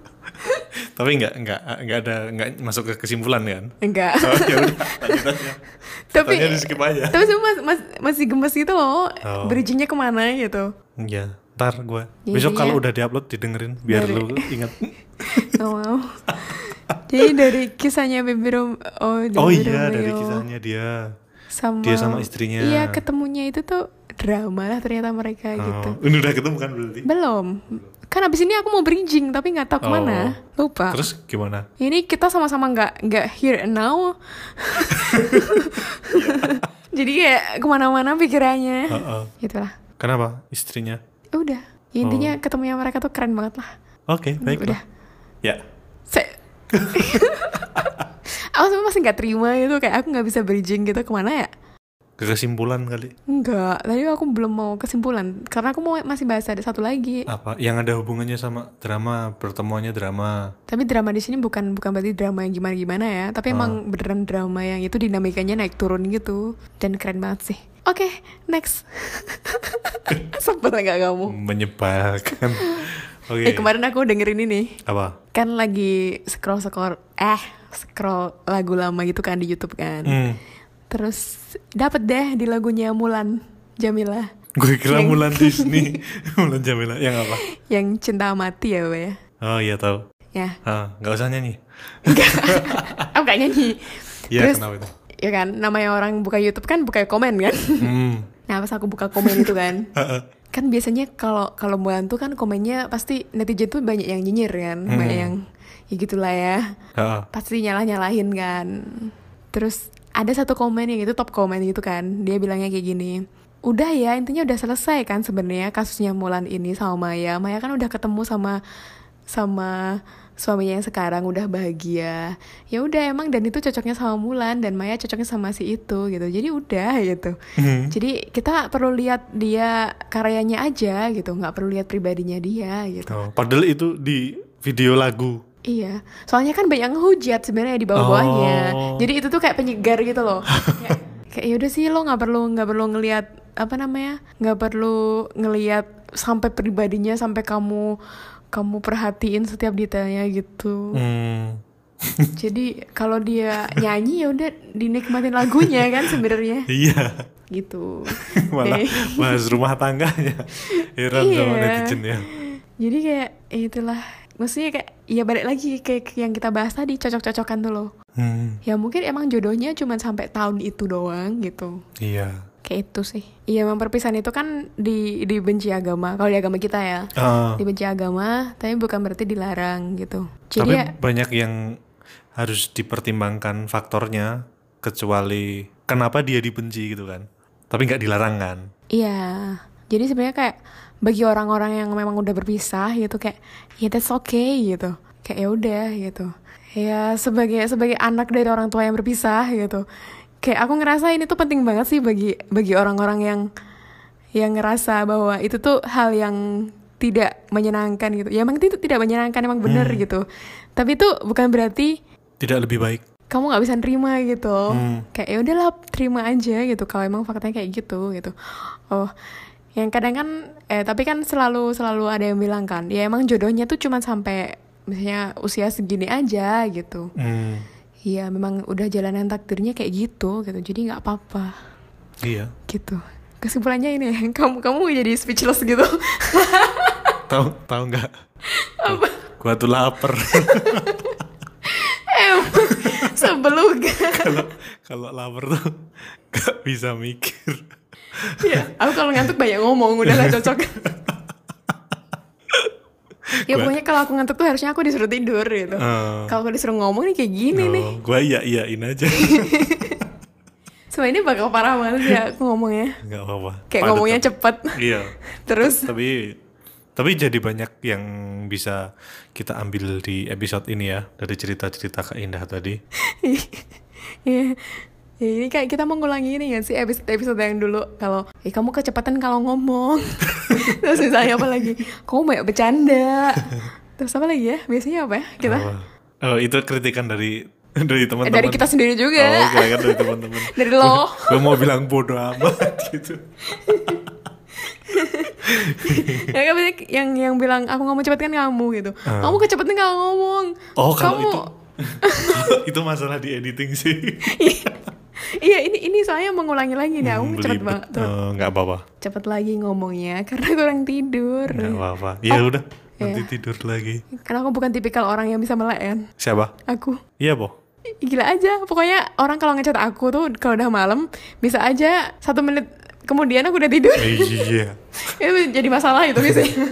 Speaker 2: Tapi nggak nggak nggak ada nggak masuk ke kesimpulan
Speaker 1: (laughs)
Speaker 2: kan?
Speaker 1: Enggak.
Speaker 2: (laughs) Oh, ya udah lanjut aja.
Speaker 1: tapi,
Speaker 2: Tanya di skip aja.
Speaker 1: tapi sumpah mas- mas- masih gemes gitu loh,
Speaker 2: Oh.
Speaker 1: bridgingnya kemana gitu.
Speaker 2: Iya, ntar gue.
Speaker 1: Iya,
Speaker 2: Besok
Speaker 1: iya.
Speaker 2: kalau udah diupload didengerin biar
Speaker 1: Dari- (laughs)
Speaker 2: lu ingat.
Speaker 1: Gak mau. Oh, Jadi dari kisahnya Baby Rom- oh,
Speaker 2: oh
Speaker 1: Baby
Speaker 2: iya, dari
Speaker 1: Romeo
Speaker 2: kisahnya dia.
Speaker 1: sama,
Speaker 2: dia sama istrinya.
Speaker 1: Iya, ketemunya itu tuh drama lah ternyata mereka gitu.
Speaker 2: Oh, ini udah ketemu kan berarti.
Speaker 1: Belum. Kan abis ini aku mau bridging tapi nggak tahu kemana. Lupa.
Speaker 2: Oh. Terus gimana?
Speaker 1: Ini kita sama-sama nggak nggak here and
Speaker 2: (laughs)
Speaker 1: now. Jadi kayak kemana-mana pikirannya.
Speaker 2: Heeh.
Speaker 1: Gitulah.
Speaker 2: Kenapa istrinya?
Speaker 1: Ya Udah. Ya, Intinya
Speaker 2: Oh.
Speaker 1: ketemunya mereka tuh keren banget lah.
Speaker 2: Oke, baiklah.
Speaker 1: Udah.
Speaker 2: Ya.
Speaker 1: Saya... (laughs) aku sebenernya masih nggak terima gitu kayak aku nggak bisa bridging gitu kemana ya
Speaker 2: Ke kesimpulan kali.
Speaker 1: Enggak, tadi aku belum mau kesimpulan karena aku mau masih bahas ada satu lagi.
Speaker 2: Apa yang ada hubungannya sama drama pertemuannya drama.
Speaker 1: Tapi drama di sini bukan bukan berarti drama yang gimana-gimana ya, tapi
Speaker 2: Ah.
Speaker 1: emang beneran drama yang itu dinamikanya naik turun gitu dan keren banget sih. Oke, next. (laughs) Sempet nggak kamu? (laughs)
Speaker 2: Menyebalkan. Oke.
Speaker 1: Eh kemarin aku dengerin ini
Speaker 2: Apa?
Speaker 1: kan lagi scroll scroll eh scroll lagu lama gitu kan di YouTube kan.
Speaker 2: Hmm.
Speaker 1: Terus dapet deh di lagunya Mulan Jamila
Speaker 2: Gue kira
Speaker 1: Yang- (laughs)
Speaker 2: Mulan Disney, Mulan Jamila yang apa?
Speaker 1: yang cinta mati ya, Pak ya.
Speaker 2: Oh iya tahu.
Speaker 1: Ya,
Speaker 2: Ah, nggak usah nyanyi.
Speaker 1: aku gak nyanyi.
Speaker 2: Iya
Speaker 1: Terus-
Speaker 2: kenapa itu?
Speaker 1: Ya kan, namanya orang buka YouTube kan buka komen kan.
Speaker 2: Hmm.
Speaker 1: (laughs) Nah, pas aku buka komen itu (laughs) kan. kan biasanya kalau kalau bulan tuh kan komennya pasti netizen tuh banyak yang nyinyir kan, banyak yang ya gitulah ya.
Speaker 2: Ah,
Speaker 1: Pasti nyalah-nyalahin kan. Terus ada satu komen yang itu top komen gitu kan. Dia bilangnya kayak gini. Udah ya, intinya udah selesai kan sebenarnya kasusnya Mulan ini sama Maya. Maya kan udah ketemu sama sama suaminya yang sekarang udah bahagia. Ya udah emang dan itu cocoknya sama Mulan dan Maya cocoknya sama si itu gitu. Jadi udah gitu. Jadi kita perlu lihat dia karyanya aja gitu, nggak perlu lihat pribadinya dia gitu.
Speaker 2: Oh, padahal itu di video lagu.
Speaker 1: Iya, soalnya kan banyak ngehujat sebenarnya di bawah-bawahnya.
Speaker 2: Oh.
Speaker 1: Jadi itu tuh kayak penyegar gitu loh. kayak kayak yaudah sih lo nggak perlu nggak perlu ngelihat apa namanya nggak perlu ngelihat sampai pribadinya sampai kamu kamu perhatiin setiap detailnya
Speaker 2: (laughs)
Speaker 1: gitu.
Speaker 2: Hmm.
Speaker 1: Jadi kalau dia nyanyi ya udah dinikmatin lagunya kan sebenarnya
Speaker 2: Iya. (laughs)
Speaker 1: gitu. Eh,
Speaker 2: Malah bahas rumah tangganya. Heran
Speaker 1: Iya.
Speaker 2: sama netizen ya.
Speaker 1: Jadi kayak ya itulah maksudnya kayak ya balik lagi kayak yang kita bahas tadi cocok-cocokan tuh loh.
Speaker 2: Hmm.
Speaker 1: Ya mungkin emang jodohnya cuma sampai tahun itu doang gitu.
Speaker 2: Iya.
Speaker 1: Kayak itu sih. Iya, emang perpisahan itu kan di dibenci agama. Kalau di agama kita ya.
Speaker 2: Ah,
Speaker 1: Dibenci agama, tapi bukan berarti dilarang gitu. Jadi
Speaker 2: tapi
Speaker 1: ya,
Speaker 2: banyak yang harus dipertimbangkan faktornya kecuali kenapa dia dibenci gitu kan. Tapi nggak dilarang kan.
Speaker 1: iya. Jadi sebenarnya kayak bagi orang-orang yang memang udah berpisah gitu kayak ya that's okay gitu. Kayak ya udah gitu. Ya sebagai sebagai anak dari orang tua yang berpisah gitu. Kayak aku ngerasa ini tuh penting banget sih bagi bagi orang-orang yang yang ngerasa bahwa itu tuh hal yang tidak menyenangkan gitu. Ya emang itu tidak menyenangkan emang bener gitu. Tapi itu bukan berarti
Speaker 2: Tidak lebih baik.
Speaker 1: kamu nggak bisa nerima gitu.
Speaker 2: Hmm.
Speaker 1: Kayak ya udahlah terima aja gitu. Kalau emang faktanya kayak gitu gitu. Oh, yang kadang kan eh tapi kan selalu selalu ada yang bilang kan, ya emang jodohnya tuh cuman sampai misalnya usia segini aja gitu.
Speaker 2: Hmm.
Speaker 1: Iya, memang udah jalanan takdirnya kayak gitu gitu. Jadi nggak apa-apa
Speaker 2: Iya.
Speaker 1: gitu kesimpulannya ini (laughs) ya, kamu kamu jadi speechless gitu (laughs)
Speaker 2: Tahu tahu nggak? Gua tuh lapar. (laughs)
Speaker 1: emang sebeluga
Speaker 2: Kalau kalau lapar tuh (laughs) nggak bisa mikir.
Speaker 1: ya aku kalau ngantuk banyak ngomong udah gak cocok ya pokoknya kalau aku ngantuk tuh harusnya aku disuruh tidur gitu
Speaker 2: Eh.
Speaker 1: kalau aku disuruh ngomong nih kayak gini nih
Speaker 2: gue iya iyain
Speaker 1: (laughs)
Speaker 2: aja.
Speaker 1: Semua ini bakal parah banget sih aku ngomongnya
Speaker 2: nggak apa-apa.
Speaker 1: kayak
Speaker 2: Padat
Speaker 1: ngomongnya
Speaker 2: tapi-
Speaker 1: cepet (laughs)
Speaker 2: Iya.
Speaker 1: terus
Speaker 2: Tapi tapi jadi banyak yang bisa kita ambil di episode ini ya dari cerita-cerita Kak Indah tadi.
Speaker 1: Iya. Ya, ini kayak kita mengulangi ini ya sih episode-episode yang dulu kalau eh kamu kecepatan kalau ngomong. (laughs) Terus misalnya apa lagi? Kamu banyak (laughs) bercanda. Terus apa lagi ya? Biasanya apa ya? Kita
Speaker 2: Apa? Oh, itu kritikan dari dari teman-teman.
Speaker 1: dari kita sendiri juga. Oh.
Speaker 2: Oh, kritikan dari teman-teman.
Speaker 1: (laughs) Dari (laughs) lo.
Speaker 2: Gue mau bilang bodoh amat
Speaker 1: (laughs)
Speaker 2: (laughs) gitu.
Speaker 1: ya kan biasanya yang yang bilang aku ngomong cepat kan kamu gitu. Kamu kecepatan kalau ngomong.
Speaker 2: Ah. Oh, kalau
Speaker 1: kamu
Speaker 2: itu itu masalah di editing sih.
Speaker 1: Iya, ini ini soalnya mengulangi lagi
Speaker 2: Hmm,
Speaker 1: nih. Aku Ya, um, cepet
Speaker 2: Belibet.
Speaker 1: banget. Cepet-
Speaker 2: Eh, nggak apa-apa.
Speaker 1: Cepet lagi ngomongnya (laughs) karena kurang tidur.
Speaker 2: Nggak apa-apa. Ya udah, nanti
Speaker 1: Iya.
Speaker 2: tidur lagi.
Speaker 1: Karena aku bukan tipikal orang yang bisa melek kan.
Speaker 2: Siapa?
Speaker 1: Aku
Speaker 2: Iya, Bo.
Speaker 1: gila aja pokoknya orang kalau ngecat aku tuh kalau udah malam bisa aja satu menit kemudian aku udah tidur
Speaker 2: Iya.
Speaker 1: (laughs) itu jadi masalah itu
Speaker 2: (laughs)
Speaker 1: biasanya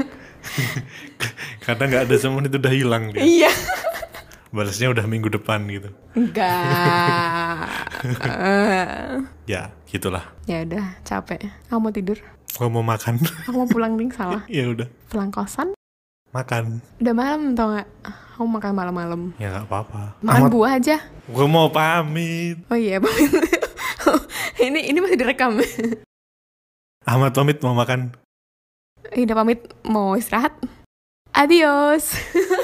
Speaker 2: Karena nggak ada semen itu udah hilang dia.
Speaker 1: iya
Speaker 2: Balasnya udah minggu depan gitu. (laughs)
Speaker 1: enggak Eh,
Speaker 2: Ya, gitulah.
Speaker 1: ya udah capek aku mau tidur
Speaker 2: Gua mau makan. (laughs)
Speaker 1: aku mau pulang nih salah
Speaker 2: ya udah,
Speaker 1: pulang kosan
Speaker 2: makan.
Speaker 1: udah malam tau nggak aku mau makan malam-malam
Speaker 2: Ya nggak apa-apa.
Speaker 1: makan
Speaker 2: Amat,
Speaker 1: buah aja
Speaker 2: gua mau pamit.
Speaker 1: oh iya (laughs) pamit. ini ini masih direkam
Speaker 2: Ahmad pamit mau makan.
Speaker 1: Ini udah pamit mau istirahat adios (laughs)